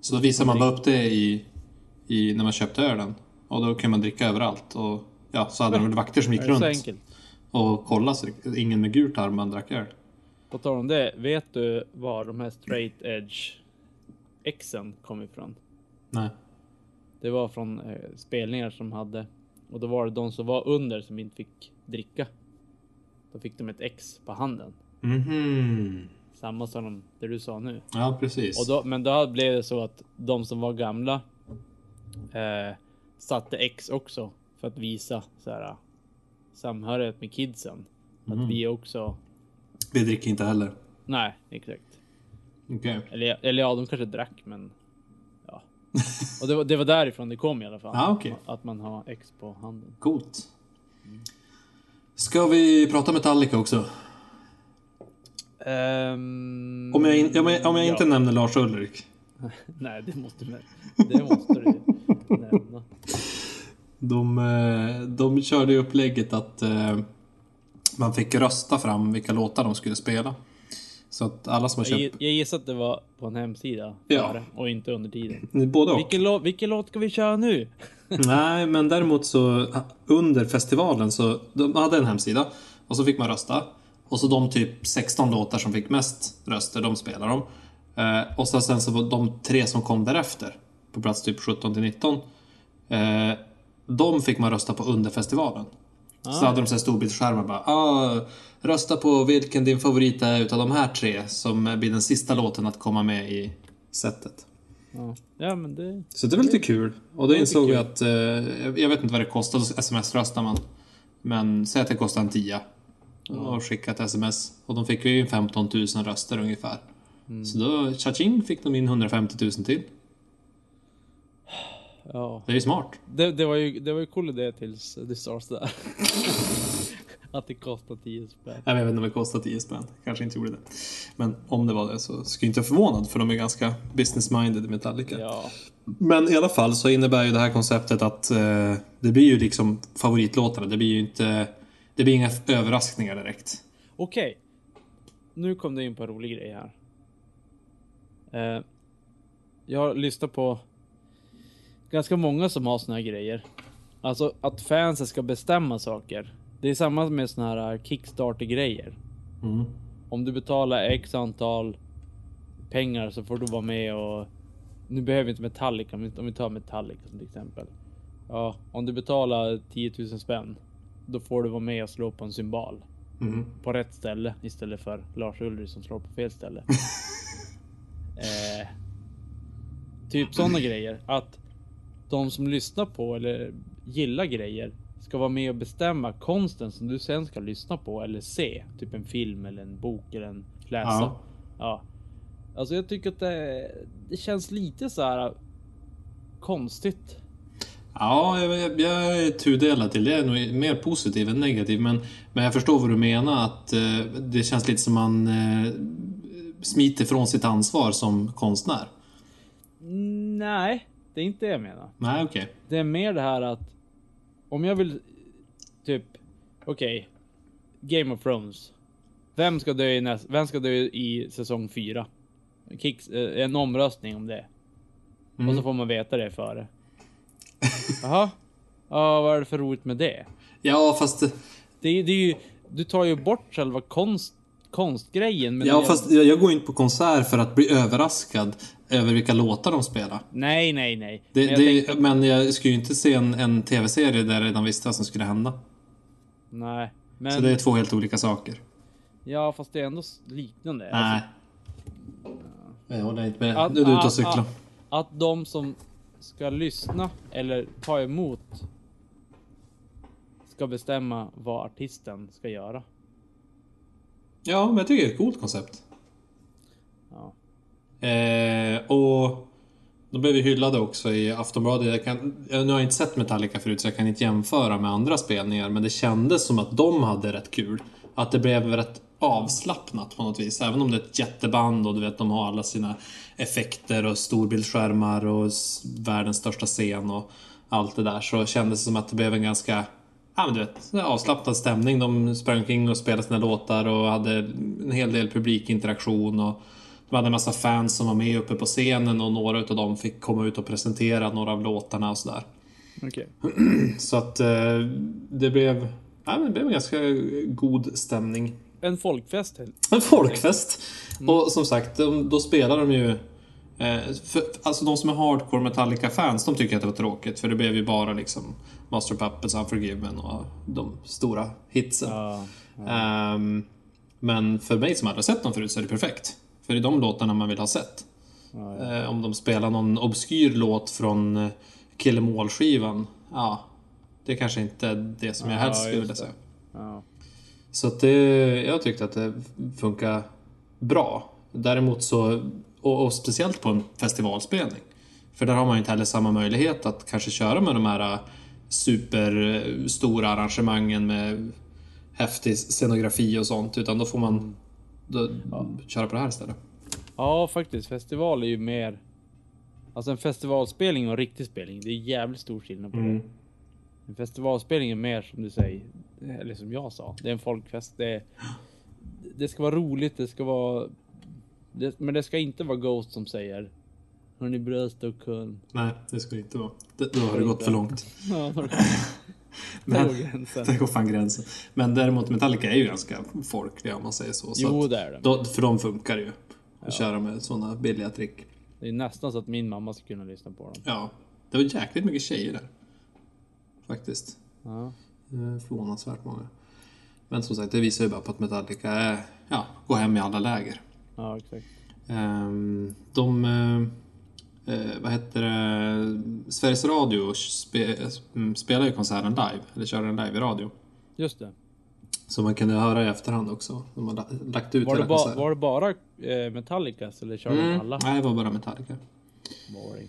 Så då visade man bara upp det i, i, när man köpte ölen. Och då kunde man dricka överallt. Och ja, så hade de väl vakter som gick
Är det så
runt
enkelt?
och kollade så ingen med gult armband drack öl.
På tal om det, vet du var de här straight edge exen kom ifrån?
Nej.
Det var från eh, spelningar som hade och då var det de som var under som inte fick dricka. Då fick de ett X på handen.
Mhm.
Samma som de, det du sa nu.
Ja, precis.
Och då, men då blev det så att de som var gamla eh, satte X också för att visa så här, eh, samhörighet med kidsen. Att vi också...
Vi dricker inte heller.
Nej, exakt.
Okej.
Eller, eller ja, de kanske drack, men ja. Och det var, det var därifrån det kom i alla fall.
Ja, Ah, okej.
Att man har X på handen.
Coolt. Ska vi prata Metallica också?
Ehm,
Om jag, in, om jag, om jag
ja.
inte nämner Lars Ulrik,
Nej, det måste du, det måste du nämna.
de, eh, de körde ju upplägget att eh, man fick rösta fram vilka låtar de skulle spela. Så att alla som har
Jag,
köpt...
jag gissar att det var på en hemsida
Ja.
före och inte under tiden.
Både och.
Vilken, lå- vilken låt ska vi köra nu?
Nej, men däremot så under festivalen så de hade en hemsida och så fick man rösta. Och så de typ 16 låtar som fick mest röster, de spelar de. Eh, och så sen så var de tre som kom därefter, på plats typ 17 till 19. Eh, de fick man rösta på under festivalen. Så hade de så här storbildsskärmar bara. Ah, rösta på vilken din favorit är utav de här tre som blir den sista låten att komma med i sättet.
Ja, ja men det...
Så det var lite kul. Och då
Det är
insåg vi
kul.
att, eh, jag- jag vet inte vad det kostar, så sms-röstar man. Men säg att det kostar en tia. Och skicka ett sms. Och de fick ju 15 000 röster ungefär. Så då, tjatjing, fick de in 150 000 till.
Ja.
Det är ju smart.
Det, det var ju, det var ju cool idé tills det sa sådär. att det kostar 10 spänn.
Nej, men Jag vet inte om det kostar 10 spänn. Kanske inte gjorde det. Men om det var det så skulle jag inte vara förvånad för de är ganska business-minded Metallica.
Ja.
Men i alla fall så innebär ju det här konceptet att eh, det blir ju liksom favoritlåtarna. Det blir ju inte... Det blir inga överraskningar direkt.
Okej. Nu kom du in på en rolig grej här. Eh, jag har lyssnat på ganska många som har såna här grejer. Alltså att fansen ska bestämma saker. Det är samma med såna här eh, Kickstarter-grejer.
Mm.
Om du betalar x antal pengar så får du vara med och... Nu behöver vi inte Metallica, men om vi tar Metallica som till exempel. Ja, om du betalar 10 000 spänn, då får du vara med och slå på en symbol
Mm.
på rätt ställe istället för Lars Ulrich som slår på fel ställe. eh, typ sådana grejer. Att de som lyssnar på eller gillar grejer ska vara med och bestämma konsten som du sen ska lyssna på eller se. Typ en film eller en bok eller en läsa.
Ja.
Ja. Alltså jag tycker att det, det känns lite så här konstigt.
Ja, jag, jag, jag är tudelad till det. Jag är nog mer positiv än negativ. Men, men jag förstår vad du menar. Att eh, det känns lite som man eh, smiter från sitt ansvar som konstnär.
Nej, det är inte det jag menar.
Nej, okej.
Det är mer det här att om jag vill typ okej Game of Thrones. Vem ska dö i näst, vem ska dö i säsong 4? Kicks, eh, en omröstning om det.
Mm.
Och så får man veta det före. Jaha. Ja, vad är det för roligt med det?
Ja, fast...
Det, är- det är ju, du tar ju bort själva konst, konstgrejen. Men
Ja,
det-
fast jag, jag går inte på konsert för att bli överraskad över vilka låtar de spelar.
Nej, nej, nej.
Det,
Men jag
men, det,
tänker-
men jag skulle ju inte se en, en tv-serie där jag redan visste vad som skulle hända.
nej.
Så
Men,
det är två helt olika saker.
ja, fast det är ändå s- liknande. Alltså,
Nej. Jag håller inte med.
Att-
Nu är du ute och
att-
cyklar.
Att, att de som ska lyssna eller ta emot ska bestämma vad artisten ska göra.
Ja, men jag tycker det är ett coolt koncept.
Ja.
Eh, och de blev ju hyllade också i Aftonbladet. Jag kan, jag- nu har jag inte sett Metallica förut så jag kan inte jämföra med andra spelningar men det kändes som att de hade rätt kul. Att det blev rätt avslappnat på något vis. Även om det är ett jätteband och du vet de har alla sina effekter och storbildsskärmar och s- världens största scen och allt det där så kändes det som att det blev en ganska Ja, men du vet, avslappnad stämning. De sprang omkring och spelade sina låtar och hade en hel del publikinteraktion. Och de hade en massa fans som var med uppe på scenen och några av dem fick komma ut och presentera några av låtarna och sådär.
Okej.
Så att eh, det blev, ja, men det blev en ganska god stämning.
En folkfest. helt-
En folkfest! Och som sagt, de, då spelar de ju... Eh, för, alltså de som är hardcore Metallica-fans, de tycker att det var tråkigt för det blev ju bara liksom Master of Puppets, Unforgiven och de stora hitsen.
Ja.
Ehm, men för mig som aldrig har sett dem förut så är det perfekt. För det är de låtarna man vill ha sett.
Ja,
Eh, om de spelar någon obskyr låt från eh, Killemål-skivan, ja. Det kanske inte är det som jag
Ja,
helst skulle
just
vilja
det.
säga.
ja.
Så att det, jag tyckte att det funkar bra. Däremot så, och, och speciellt på en festivalspelning. För där har man ju inte heller samma möjlighet att kanske köra med de här eh, superstora arrangemangen med häftig scenografi och sånt. Utan då får man då, köra på det här istället.
ja, faktiskt. Festival är ju mer... Alltså en festivalspelning och en riktig spelning. Det är jävligt stor skillnad på det. En festivalspelning är mer som du säger, eller som jag sa. Det är en folkfest. Det, är, det ska vara roligt, det ska vara... Det, men det ska inte vara Ghost som säger Hörni bra Stockholm.
Nej, det ska det inte vara. Det, då har det gått för långt.
Ja, där
Men-
går gränsen.
Det går fan gränsen. Men däremot Metallica är ju ganska folkliga om man säger så. så
Jo,
att,
det är det.
då, för de funkar ju. Att köra med sådana billiga trick.
Det är nästan så att min mamma ska kunna lyssna på dem.
Ja, det var jäkligt mycket tjejer där. Faktiskt.
Ja.
Eh, Förvånansvärt många. Men som sagt, det visar ju bara på att Metallica är, ja, går hem i alla läger.
Ja, exakt.
Ehm, de... eh, Eh, vad heter det? Sveriges Radio spe, mm, spelar ju konserten live, eller kör den live i radio.
Just det.
Så man kunde höra i efterhand också. De har la- lagt ut
Var det,
hela
ba,
konserten.
var det bara eh, Metallicas eller körde de
Mm,
alla?
Nej, det var bara Metallica.
Boring.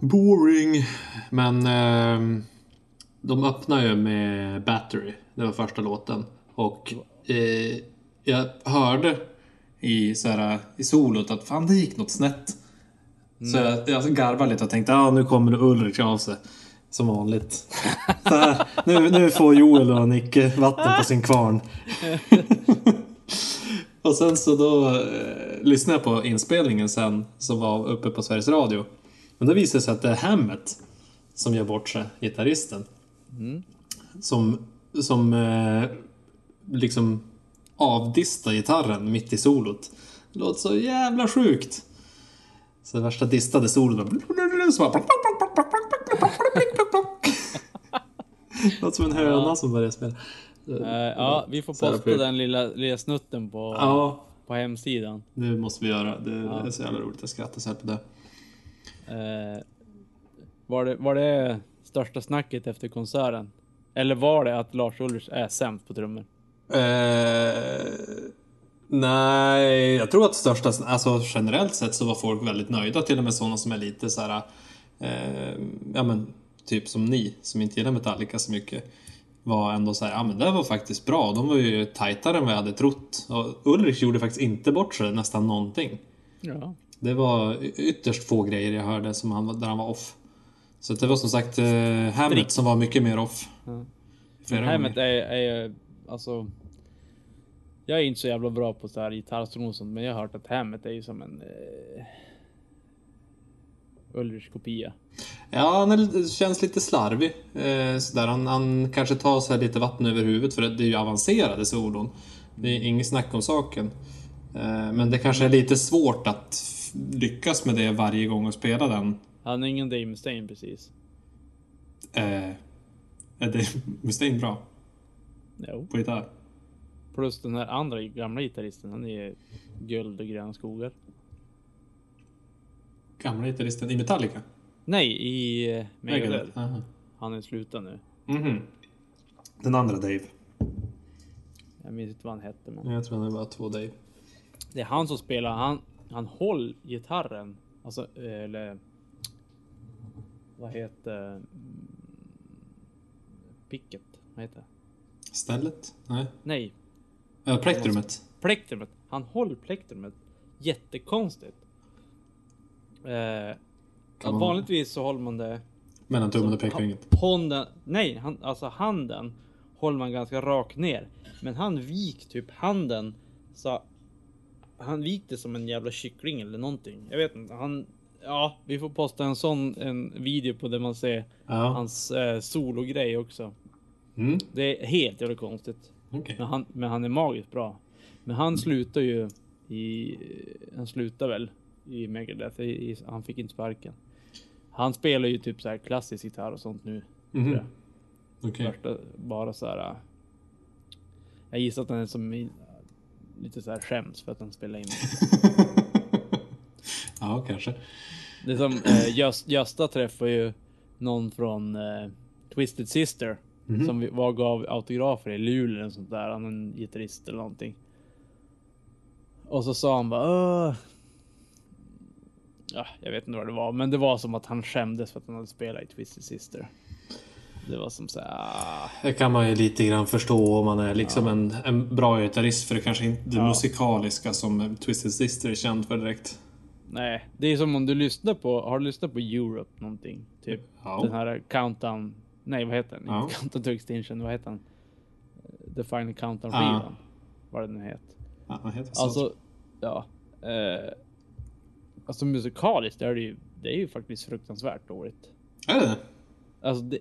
Boring. Men ehm, de öppnar ju med Battery. Det var första låten. Och eh, jag hörde i, så här, i solot att fan det gick något snett. Så jag, jag garvade lite och tänkte ah, nu kommer det Ulrik av sig. Som vanligt. så här, nu, nu får Joel och Nicke vatten på sin kvarn. och sen så då eh, lyssnade jag på inspelningen sen som var uppe på Sveriges Radio. Men då visade det sig att det är Hammett som gör bort sig, gitarristen. Som, som eh, liksom avdistar gitarren mitt i solot. Det låter så jävla sjukt. Så det värsta distade solot bara... Så bara låter som en höna som börjar spela.
Eh, ja, vi får
Så här
posta
fult.
den lilla, lilla snutten på,
Ja,
på hemsidan.
det måste vi göra. Det, det är så jävla roligt. Jag skrattar så här på det.
Eh, var, det, var det största snacket efter konserten? Eller var det att Lars Ulrich är sämst på trummor?
Eh, nej, jag tror att största... Alltså generellt sett så var folk väldigt nöjda. Till och med sådana som är lite så här... Eh, ja men, typ som ni, som inte gillar Metallica så mycket. Var ändå så här, ja men det här var faktiskt bra. De var ju tajtare än vad jag hade trott. Och Ulrich gjorde faktiskt inte bort sig nästan någonting.
Ja.
Det var y- ytterst få grejer jag hörde som han, var- där han var off. Så att det var som sagt eh, Hammett som var mycket mer off.
Ja.
Flera
Hammett
gånger.
är, är ju, alltså... Jag är inte så jävla bra på så här gitarrstrån och sånt, men jag har hört att Hammett är ju som en... Eh, Ulrichs kopia.
Ja, han är, lite- känns lite slarvig. Eh, sådär. Han, han kanske tar så här lite vatten över huvudet för det är ju avancerade solon. Det är inget snack om saken. Eh, men det kanske är lite svårt att f- lyckas med det varje gång och spela den.
Han är ingen Dave Mustaine precis.
Eh, är det Mustaine bra
Jo.
på gitarr?
Plus den här andra gamla gitarristen, han är guld och gröna skogar.
Gamla gitarristen i Metallica?
Nej, i eh, Megadeth.
Aha.
Han är slutad nu.
Mhm. Den andra Dave.
Jag minns inte vad han hette. Men...
Jag tror det var två Dave.
Det är han som spelar. Han, han håll gitarren. Alltså, eller... Vad heter... mm, Picket? Vad heter det?
Stället? Nej.
Nej,
Äh, plektrumet?
plektrumet. Han håller plektrumet. Jättekonstigt. Eh, ja,
man-
Vanligtvis så håller man det...
Mellan tummen och pekfingret.
Honden, nej, han, alltså handen håller man ganska rakt ner. Men han vik typ handen så han vikte som en jävla kyckling eller någonting. Jag vet inte. Han, ja, vi får posta en sån en video på där man ser
Ja.
hans eh, sologrej också.
Mm.
Det är helt jävla konstigt.
Okej.
Men han, men han är magiskt bra. Men han slutar ju i... Han slutar väl i Megadeth. I, i, han fick inte sparken. Han spelar ju typ så här klassisk gitarr och sånt nu.
Mhm.
tror jag.
Okej.
Värsta, bara så här. äh, Jag gissar att han är som i- lite så här skäms för att han spelar in.
ja, kanske.
Det är som eh, Göst, Gösta träffar ju någon från eh, Twisted Sister
Mhm.
som vi- var gav autografer i Luleå eller sånt där. Han är en gitarrist eller någonting. Och så sa han bara. "Åh." Ja, jag vet inte vad det var, men det var som att han skämdes för att han hade spelat i Twisted Sister. Det var som så här. "Ah."
Det kan man ju lite grann förstå om man är liksom en, en bra gitarrist för det kanske inte det musikaliska som Twisted Sister är känd för direkt.
Nej, det är som om du lyssnar på, har du lyssnat på Europe någonting? Typ
Ja.
den här Countdown, nej vad heter den?
Ja.
Inte Countdown to Extinction, vad heter den? Eh, The Final Countdown
Ja.
skivan. Vad den nu heter.
Ja, vad heter det?
Alltså, ja. Eh, alltså musikaliskt är det ju, det är ju faktiskt fruktansvärt dåligt.
Är det det?
Alltså, det,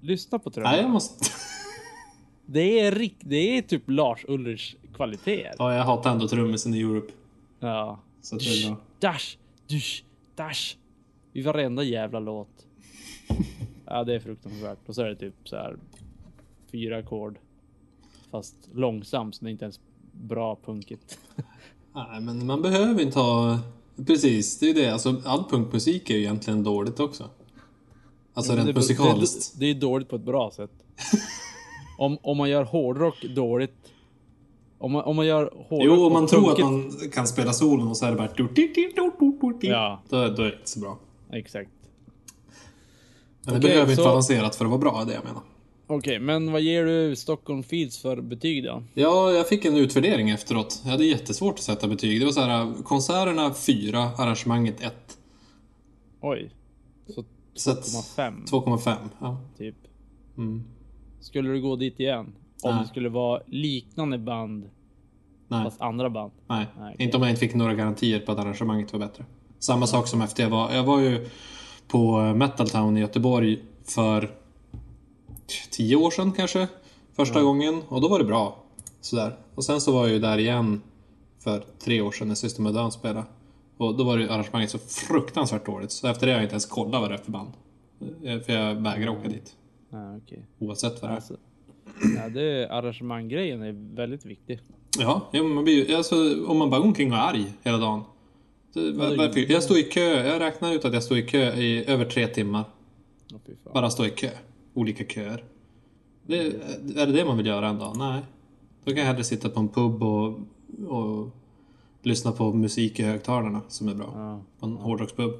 lyssna på trummorna.
Nej, jag måste...
Det är rikt, det är typ Lars Ulrichs kvaliteter.
ja, jag hatar ändå trummisen i Europe.
Ja.
Så att det är bra.
Dash, dusch, dash. I varenda jävla låt. Ja, det är fruktansvärt. Och så är det typ så här fyra ackord. Fast långsamt, så det är inte ens bra punkigt.
Nej, men man behöver inte ha... Precis, det är ju det. Alltså, all punkmusik är ju egentligen dåligt också. Alltså
Men
rent
det-
musikaliskt.
Det, det är dåligt på ett bra sätt. om, om man gör hårdrock dåligt. Om man, om man gör hårdrock
Jo, om man
och
tror att
punkigt-
man kan spela solen och så är det bara... du- du- du- du- du- du- du.
Ja.
Då, då är det inte så bra.
Exakt.
Men det
Okej,
behöver inte
så-
vara avancerat för att vara bra, är det jag menar.
Okej, men vad ger du Stockholm Fields för betyg då?
Ja, jag fick en utvärdering efteråt. Jag hade jättesvårt att sätta betyg. Det var så här, äh, konserterna 4, arrangemanget 1.
Oj. Så
Så att
2,5
2,5. Ja.
typ.
Mm.
Skulle du gå dit igen? Om
Nej.
det skulle vara liknande band,
Nej,
fast andra band.
nej.
nej, okej.
Inte om jag inte fick några garantier på att arrangemanget var bättre. Samma sak som efter jag var... Jag var ju på Metal Town i Göteborg för 10 år sedan kanske. Första gången. Och då var det bra. Sådär. Och sen så var jag ju där igen för tre år sedan när System of a Down spelade. Och då var ju arrangemanget så fruktansvärt dåligt. Så efter det har jag inte ens kollat vad det är för band. Eh, För jag vägrar åka dit.
Nej, okej.
Oavsett vad det är.
Alltså, ja, det arrangemanggrejen är väldigt viktig.
Ja, ja men man blir, ju- alltså, om man bara går omkring och är arg hela dagen. Det, var, varför, jag stod i kö, jag räknar ut att jag stod i kö i över tre timmar.
Åh, fy fan.
Bara stå i kö. Olika köer. Det, är det det man vill göra en dag? Nej. Då kan jag hellre sitta på en pub och, och lyssna på musik i högtalarna som är bra.
Ja.
På en hårdrockspub.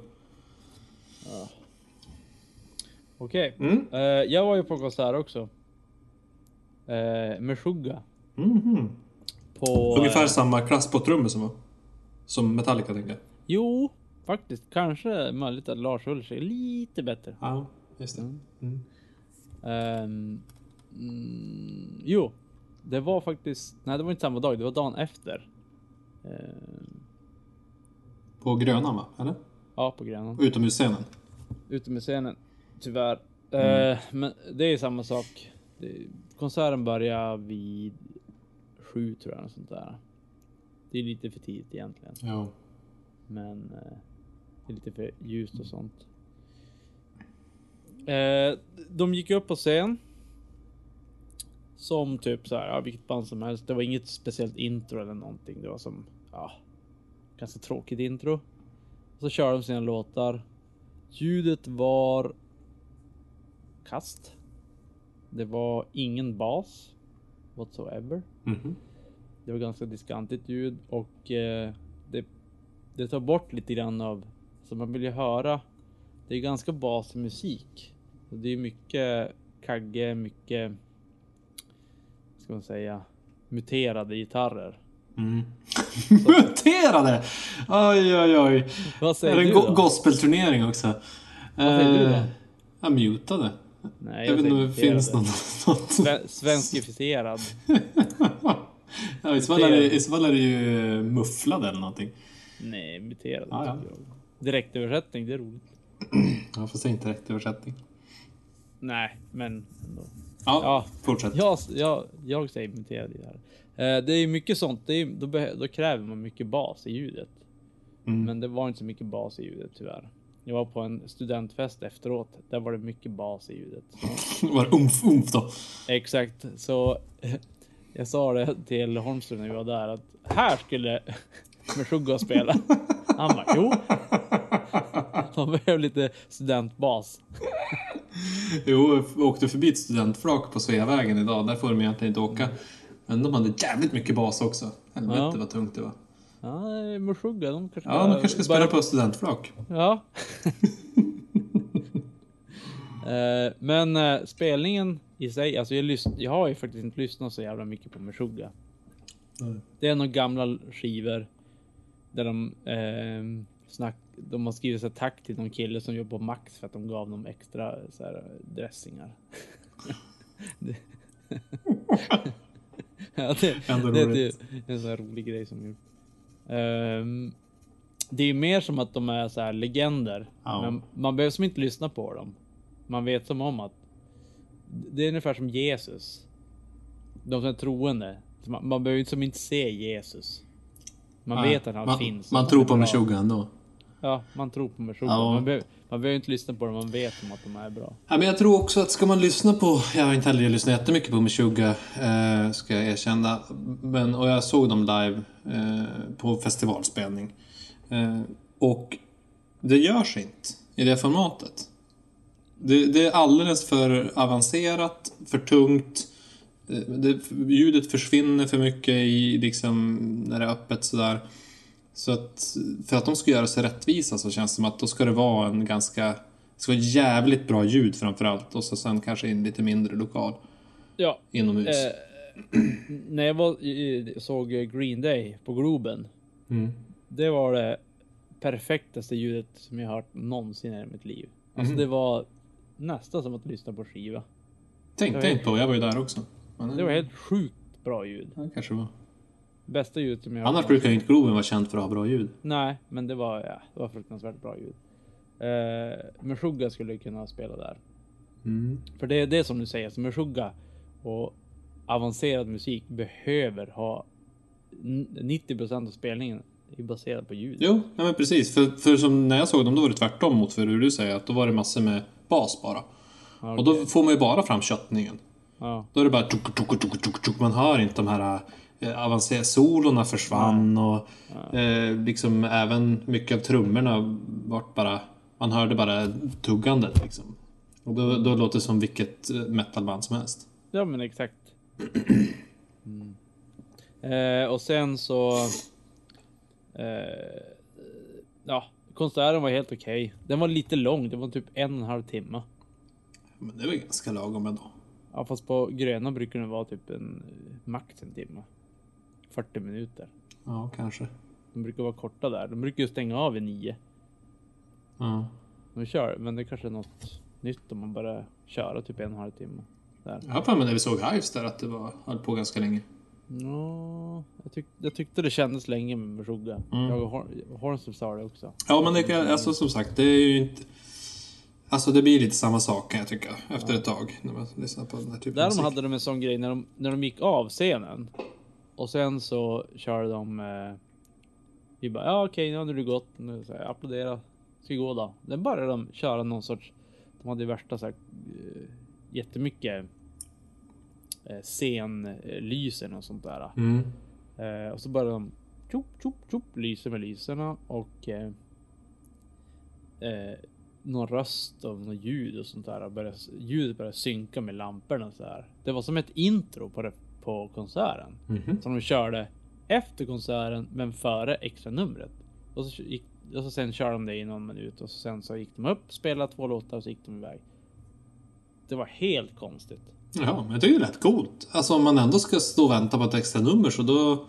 Okej.
Mm.
Eh, jag var ju på konsert också. Uh, med Suga.
Mhm.
På...
Ungefär
eh,
samma klass på trummor som, som Metallica tänker jag.
jo, faktiskt. Kanske möjligt att Lars Ulrich är lite bättre.
Ja, just det. Mm.
Ehm, mm, jo, det var faktiskt... Nej, det var inte samma dag. Det var dagen efter. Ehm,
På Grönan va? Eller?
ja, på Grönan.
Utomhusscenen.
Ute med scenen. Tyvärr. Eh, men det är samma sak. Det, konserten börjar vid sju tror jag. Något sånt där. Det är lite för tidigt egentligen.
Ja.
Men eh, det är lite för ljust och sånt. Eh, de gick upp på scen. Som typ så här, ja, vilket band som helst. Det var inget speciellt intro eller någonting. Det var som, ja, ganska tråkigt intro. Så kör de sina låtar. Ljudet var kast. Det var ingen bas whatsoever.
Mhm.
Det var ganska diskantigt ljud och eh, det, det tar bort lite grann av, så man vill ju höra, det är ganska basig musik. Så det är mycket kagge, mycket, vad ska man säga, muterade gitarrer.
Mm. Muterade! Oj, oj, oj.
Vad
Är
säger
det
du
en
då?
go- gospelturnering också? Vad
säger du då?
Jag mutade.
Nej,
Jag, vet inte om det
säger
finns
muterade.
någon... något.
Sve- Svenskifierad.
ja, i, så fall är det, I så fall är det ju mufflade eller någonting.
Nej, muterad
Ja, ja.
tycker jag. Direktöversättning, det är roligt.
Ja, fast det är inte rätt översättning.
Nej, men ändå.
Ja,
Ja.
fortsätt.
Jag, jag, jag säger imiterad gitarr. Eh, det är mycket sånt. Det är, då, beh- då kräver man mycket bas i ljudet.
Mm.
Men det var inte så mycket bas i ljudet tyvärr. Jag var på en studentfest efteråt. Där var det mycket bas i ljudet.
Var det umf, umf då?
Exakt, så jag sa det till Holmström när vi var där att här skulle Meshuggah spela. Han bara, jo. De behöver lite studentbas.
Jo, jag åkte förbi ett studentflak på Sveavägen idag. Där får de egentligen inte åka. Men de hade jävligt mycket bas också. Helvete
Ja.
vad tungt det var.
Ja, Meshuggah, de kanske
Ja, de kanske ska
bara-
spela på studentflak.
Ja. Eh, Men eh, spelningen i sig, alltså jag, lys- jag har ju faktiskt inte lyssnat så jävla mycket på Meshuggah.
Nej.
Det är några gamla skivor där de eh, snack, de har skrivit så här, tack till någon kille som jobbar på Max för att de gav dem extra så här, dressingar. det, ja, det,
Ändå
det är
roligt.
typ en sån här rolig grej som gjort. Ehm, det är ju mer som att de är så här legender.
Ja.
Men man behöver som inte lyssna på dem. Man vet som om att det är ungefär som Jesus. De som är troende. Så Man, man behöver ju som inte se Jesus. Man
Nej.
vet att han
man,
finns.
Man
Han
tror
är
på
bra.
Meshuggah ändå.
Ja, man tror på versionen.
Ja.
Man, behöver, man behöver inte lyssna på dem, man vet om att de är bra.
Ja, men jag tror också att ska man lyssna på, jag har inte heller lyssnat jättemycket på Meshuggah, eh, ska jag erkänna. Men, och jag såg dem live eh, på festivalspelning. Eh, och det görs inte i det formatet. Det, det är alldeles för avancerat, för tungt. Eh, Det, ljudet försvinner för mycket i, liksom, när det är öppet sådär. Så att för att de ska göra sig rättvisa så känns det som att då ska det vara en ganska... Det ska vara jävligt bra ljud framförallt och så sen kanske i en lite mindre lokal
Ja,
inomhus.
eh, när jag var, i- i- såg Green Day på Globen.
Mm.
Det var det perfektaste ljudet som jag hört någonsin i mitt liv. Alltså
Mhm.
det var nästan som att lyssna på skiva.
Tänk,
det var-
tänk på, jag var ju där också. Men,
Det var helt sjukt bra ljud.
Ja, det kanske var.
Bästa ljudet som jag hört
Annars brukar ju inte Globen vara känt för att ha bra ljud.
Nej, men det var, ja, det var fruktansvärt bra ljud. Eh, Meshuggah skulle kunna spela där.
Mm.
För det är det som du säger, som Meshuggah och avancerad musik behöver ha n- 90% av spelningen är baserad på ljud.
Jo, nej men precis. För, för som när jag såg dem då var det tvärtom mot för hur du säger. Att då var det massor med bas bara.
Ja,
Och då
okej.
får man ju bara fram köttningen.
ja.
Då är det bara tuk, tuk, tuk, tuk, tuk. Man hör inte de här eh, avancerade solorna försvann och eh, liksom även mycket av trummorna vart bara... Man hörde bara tuggandet liksom. Och då, då låter det som vilket eh, metalband som helst.
ja, men exakt. Mm. Eh, och sen så... Eh, ja, konserten var helt okej. Den var lite lång, det var typ en och en halv timme.
Men det är väl ganska lagom ändå.
Ja, fast på Gröna brukar den vara typ en eh, max en timme. 40 minuter.
Ja, kanske.
De brukar vara korta där. De brukar ju stänga av vid nio.
Ja.
De kör, men det kanske är något nytt om man bara köra typ en och en halv timme. Där.
Jag har för mig när vi såg Hives där att det var, höll på ganska länge.
Ja, jag, tyck, jag tyckte det kändes länge med Meshuggah.
Mm.
Jag och Hor- Hornstup sa det också.
Ja, men det kan, alltså, som sagt, det är ju inte... Alltså det blir lite samma sak kan jag tycka efter ett tag när man lyssnar på den här typen av
Där de
typ musik.
hade de en sån grej när de, när de gick av scenen. Och sen så körde de... Eh, vi bara, ja okej nu har du gått. Nu så här, applådera. Ska vi gå då? Sen började de köra någon sorts... De hade ju värsta så här, eh, jättemycket eh, scenlysen och sånt där.
Mm.
Eh, och så började de tjopp, tjopp, tjopp, lyser med lyserna och eh, eh, någon röst och något ljud och sånt där. och Började, ljudet började synka med lamporna så här. Det var som ett intro på, det, på konserten
Mhm.
som de körde efter konserten, men före extra numret. Och så gick och så sen körde de det i någon minut och så sen så gick de upp, spelade två låtar och så gick de iväg. Det var helt konstigt.
Ja, men jag tycker det är rätt coolt. Alltså om man ändå ska stå och vänta på ett extra nummer så då,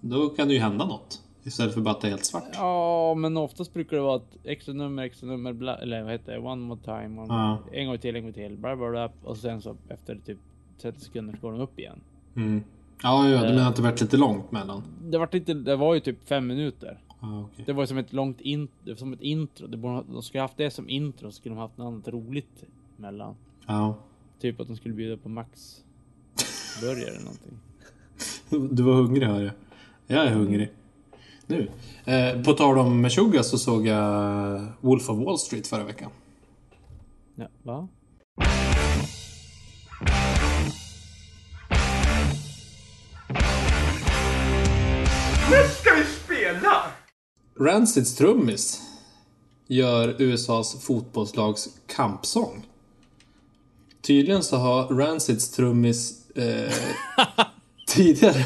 då kan det ju hända något. Istället för bara att det är helt svart.
Ja, men oftast brukar det vara ett extra nummer, extra nummer, bla, eller vad heter det? One more time. One,
Ja.
En gång till, en gång till. Bla, bla, bla, och sen så efter typ 30 sekunder så går de upp igen.
Mm. Ja, ja, du menar att det varit lite långt mellan?
Det var, inte, det var ju typ fem minuter.
Ja, okej.
Det var ju som ett långt in, som ett intro. Det borde, de skulle haft det som intro, så skulle de haft något annat roligt mellan.
Ja.
Typ att de skulle bjuda på Max burgare eller någonting.
Du var hungrig hör jag. Jag är hungrig. Nu. Eh, på tal om Meshuggah så såg jag Wolf of Wall Street förra veckan.
Ja, va?
ska vi spela?
Rancids trummis gör USAs fotbollslags kampsång. Tydligen så har Rancids trummis eh, tidigare...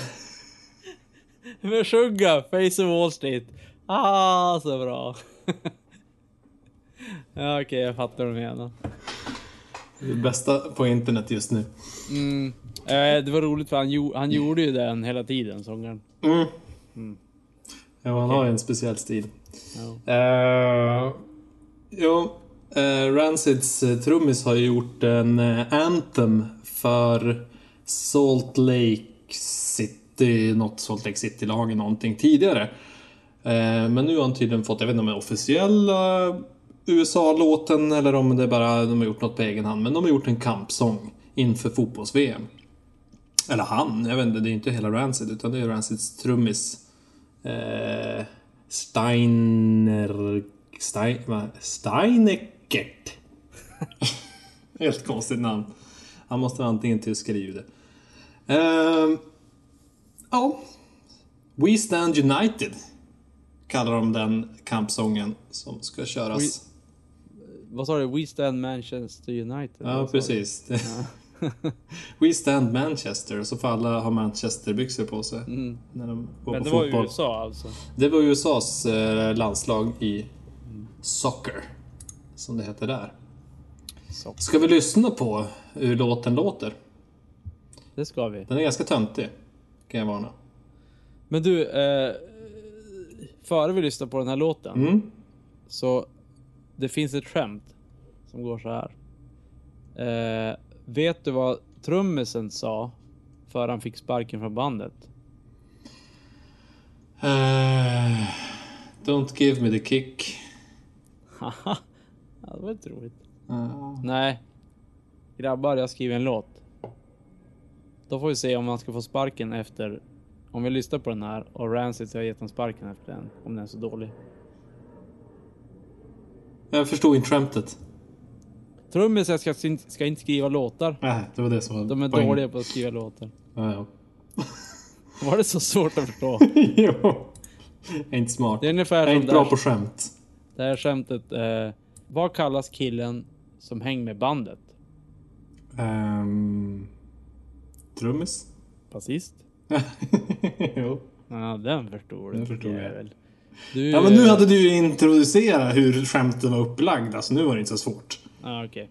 Meshuggah, Face of Wall Street. Ah, så bra. ja, okej, jag fattar vad du menar.
Det bästa på internet just nu.
Mm. Eh, det var roligt för han, gjo- han gjorde ju den hela tiden, sångaren.
Mm. Ja, han har ju en speciell stil.
Ja.
Eh, jo, eh, Rancids eh, trummis har ju gjort en eh, anthem för Salt Lake City, något Salt Lake City-lag eller någonting tidigare. Eh, men nu har han tydligen fått, jag vet inte om det är officiella USA-låten eller om det bara de har gjort något på egen hand, men de har gjort en kampsång inför fotbolls-VM. Eller han, jag vet inte, det är inte hela Rancid utan det är Rancids trummis. Eh, Steiner Stein, va? Steineckert. Helt konstigt namn. Han måste vara antingen tysk eller jude. Ehm, ja. We Stand United. Kallar de den kampsången som ska köras.
We- Vad sa du? We stand Manchester United?
Ja,
Vad sa du?
precis. We Stand Manchester, så får alla ha Manchesterbyxor på sig. När de går
Mm. Men
på
det var
fotboll.
ju USA alltså.
Det var USAs eh, landslag i soccer, som det heter där.
Soccer.
Ska vi lyssna på hur låten låter?
Det ska vi.
Den är ganska töntig, kan jag varna.
Men du, eh, före vi lyssnar på den här låten.
Mm.
Så det finns ett skämt som går så här. Eh, vet du vad trummisen sa före han fick sparken från bandet?
Eh, don't give me the kick.
Haha, ja, det var inte roligt.
Eh,
Nej. Grabbar, jag skriver en låt. Då får vi se om han ska få sparken efter... Om vi lyssnar på den här och Rancid har gett honom sparken efter den. Om den är så dålig.
jag förstod inte skämtet.
Trummisen ska, ska inte skriva låtar.
Nej, det var det som var
De är
poängen.
dåliga på att skriva låtar.
Ja, ja.
Var det så svårt att förstå?
jo. Jag är inte smart.
Det är
Jag
ungefär
är
som
inte
där
bra på skämt.
Det här skämtet. Eh, vad kallas killen som häng med bandet?
Um, trummis?
Basist?
jo.
Ja, den förstod du.
Den förstod jag.
jävel. Du,
Ja men nu hade du ju introducerat hur skämten var upplagda, så nu var det inte så svårt.
Ja, Ah, okej.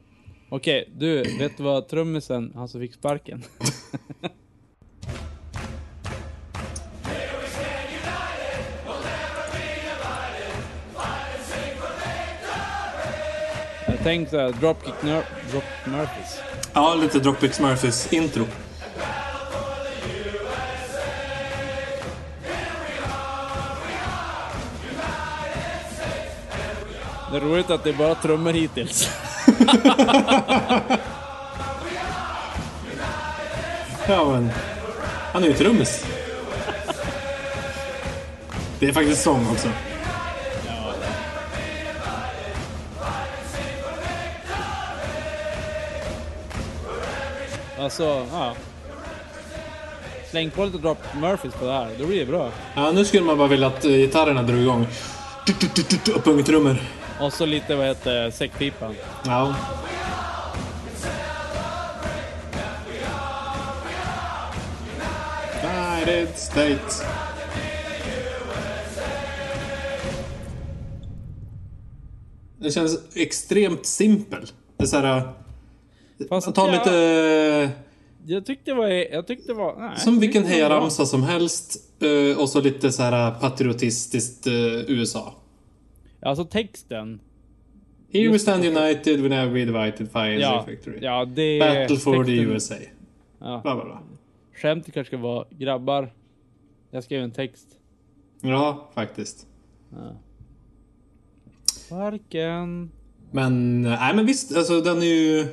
Okej, du, vet du vad trummisen, han som fick sparken? Jag tänkte såhär, Dropkick Ner- Drop Murphys.
Ja, lite Dropkick Murphys intro.
Det är roligt att det är bara trummor hittills.
Ja men... Han är ju trummis. Det är faktiskt sång också.
Alltså, ja. Släng på lite Drop Murphys på det här, då blir det bra.
Ja, nu skulle man bara vilja att eh, gitarrerna drog igång. Du-du-du-du-du, Och pungtrummor.
Och så lite, vad heter det, säckpipan.
Ja. United States. Det känns extremt simpel. Det är så här...
Fast
Man tar
jag,
lite... eh,
Jag tyckte det var... Jag tyckte det var... Nej,
Som
jag
vilken
tyckte det var bra.
hejaramsa som helst. eh, Och så lite så här patriotistiskt eh, USA.
Alltså texten.
Here we stand united, we never be divided, fire
Ja,
ja. victory.
ja det...
Battle for the
Eh, texten-
USA.
Ja.
Bla, bla, bla.
Skämtet kanske ska vara, grabbar. Jag skrev en text.
Ja, faktiskt.
Sparken.
Men, nej men visst, alltså den är ju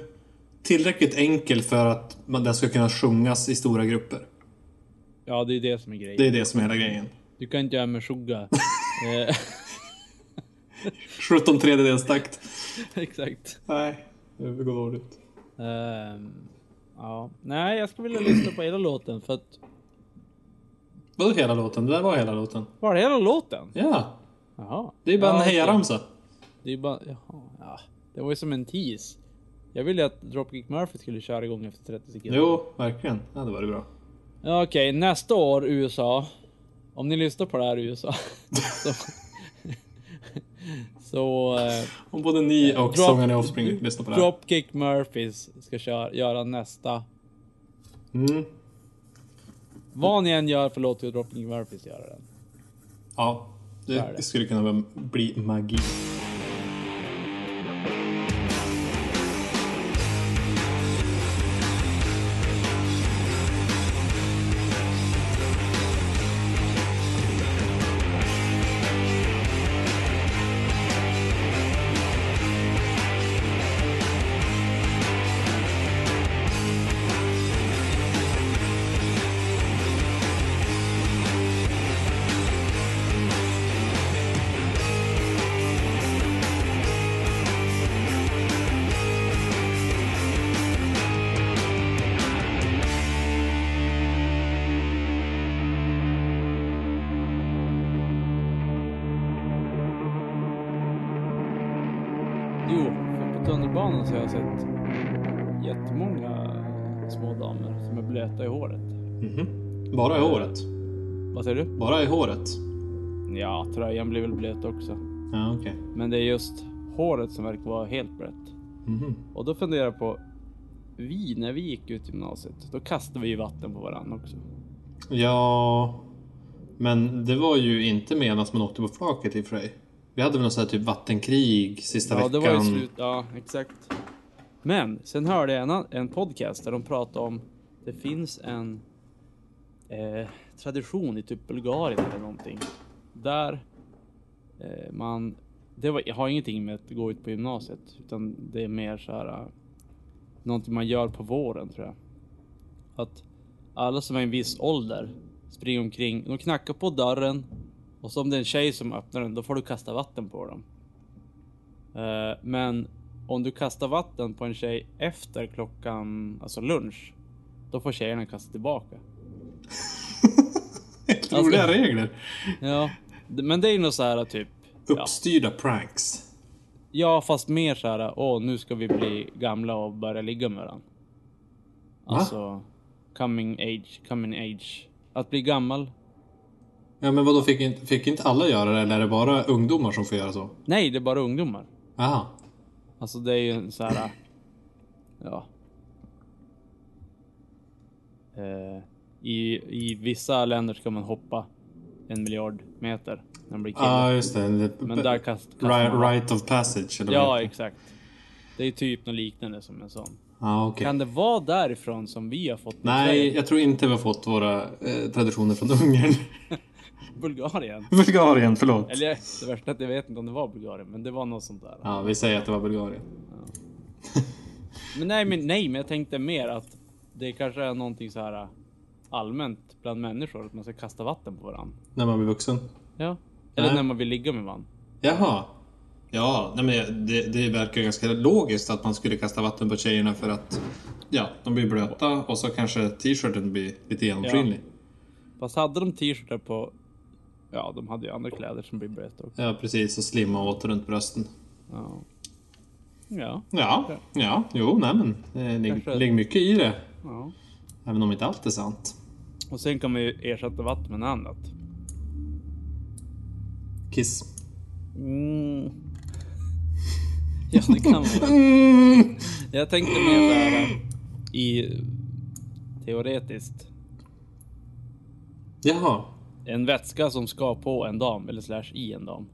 tillräckligt enkel för att man, den ska kunna sjungas i stora grupper.
Ja, det är det som är grejen.
Det är det som är hela grejen.
Du kan inte göra med sugar. eh,
17 tredjedels takt.
exakt.
Nej, det går dåligt.
Ehm, ja. Nej, jag skulle vilja lyssna på hela låten för att...
Vadå hela låten? Det där var hela låten.
Var det hela låten?
Ja,
Jaha.
det är bara en
okej.
hejaramsa.
Det är bara... Jaha. Ja. Det var ju som en tease. Jag ville att Dropkick Murphy skulle köra igång efter 30 sekunder.
Jo, verkligen. Det hade varit bra.
Ja, Okej, nästa år USA. Om ni lyssnar på det här USA. så... så eh,
Om både ni och
Drop-
sångaren i Offspring lyssnar på det här.
Dropkick Murphys ska köra, göra nästa.
Mm.
Vad ni än gör för låt ju Dropkick Murphys göra den.
Ja,
Så är
det
det.
skulle kunna bli magi.
Here
Jo, för på tunnelbanan så har jag sett jättemånga små damer som är blöta i håret.
Mhm. Bara i håret.
Vad säger du?
Bara i håret.
Ja, tröjan blir väl blöt också.
Ja, okej.
Men det är just håret som verkar vara helt blött.
Mhm.
Och då funderar jag på, vi när vi gick ut gymnasiet, då kastade vi ju vatten på varandra också.
Ja... Men det var ju inte medan man åkte på flaket i och för sig. Vi hade väl något sånt här typ vattenkrig sista
Ja, det
veckan.
var ju slut. Ja, exakt. Men sen hörde jag en, an- en podcast där de pratade om det finns en eh, tradition i typ Bulgarien eller någonting där eh, man. Det var, jag har ingenting med att gå ut på gymnasiet, utan det är mer så här. eh, Någonting man gör på våren tror jag. Att alla som är i en viss ålder springer omkring. De knackar på dörren och så om det är en tjej som öppnar den, då får du kasta vatten på dem. Eh, Men om du kastar vatten på en tjej efter klockan, alltså lunch, då får tjejerna kasta tillbaka.
Helt Roliga
Alltså-
regler.
Ja, d- men det är ju något så här typ. Ja,
Uppstyrda pranks.
ja fast mer så här. Åh, nu ska vi bli gamla och börja ligga med varandra.
Va?
Alltså coming age, coming age. Att bli gammal.
Ja, men vadå, fick inte, fick inte alla göra det eller är det bara ungdomar som får göra så?
Nej, det är bara ungdomar.
Aha.
Alltså det är ju en så här. Ja. Eh, i, I vissa länder ska man hoppa en miljard meter när man blir kille.
Ah, Ja, just det. det.
Men där kast, kastar
Right,
man-
right of passage, eller
Ja,
vad heter
exakt. Det är typ något liknande som en sån.
det? Ja, Ah, okej.
Kan det vara därifrån som vi har fått
Nej, jag tror inte vi har fått våra eh, traditioner från Ungern.
Bulgarien?
Bulgarien, förlåt.
Eller det värsta är att jag vet inte om det var Bulgarien, men det var något sånt där.
Ja, vi säger att det var Bulgarien.
Men nej, men nej, men jag tänkte mer att det kanske är någonting så här eh, allmänt bland människor att man ska kasta vatten på varandra.
När man blir vuxen.
Ja. Eller
Nej.
när man vill ligga med varandra.
Jaha. Ja, nej men jag- det, det verkar ju ganska logiskt att man skulle kasta vatten på tjejerna för att ja, de blir blöta och så kanske t-shirten blir lite genomskinlig.
Fast hade de t-shirtar på... Ja, de hade ju andra kläder som blir blöta också.
Ja. precis. Och slimma åt runt brösten.
Ja. Ja.
Ja, ja, jo, nej men. Det
Kanske.
ligger ligger mycket i det.
ja.
Även om inte allt är sant.
Och sen kan man ju ersätta vatten med något annat.
Kiss.
Mm. Ja, det kan man.
Mm.
Jag tänkte mer såhär i teoretiskt.
Jaha.
En vätska som ska på en dam eller slash i en dam.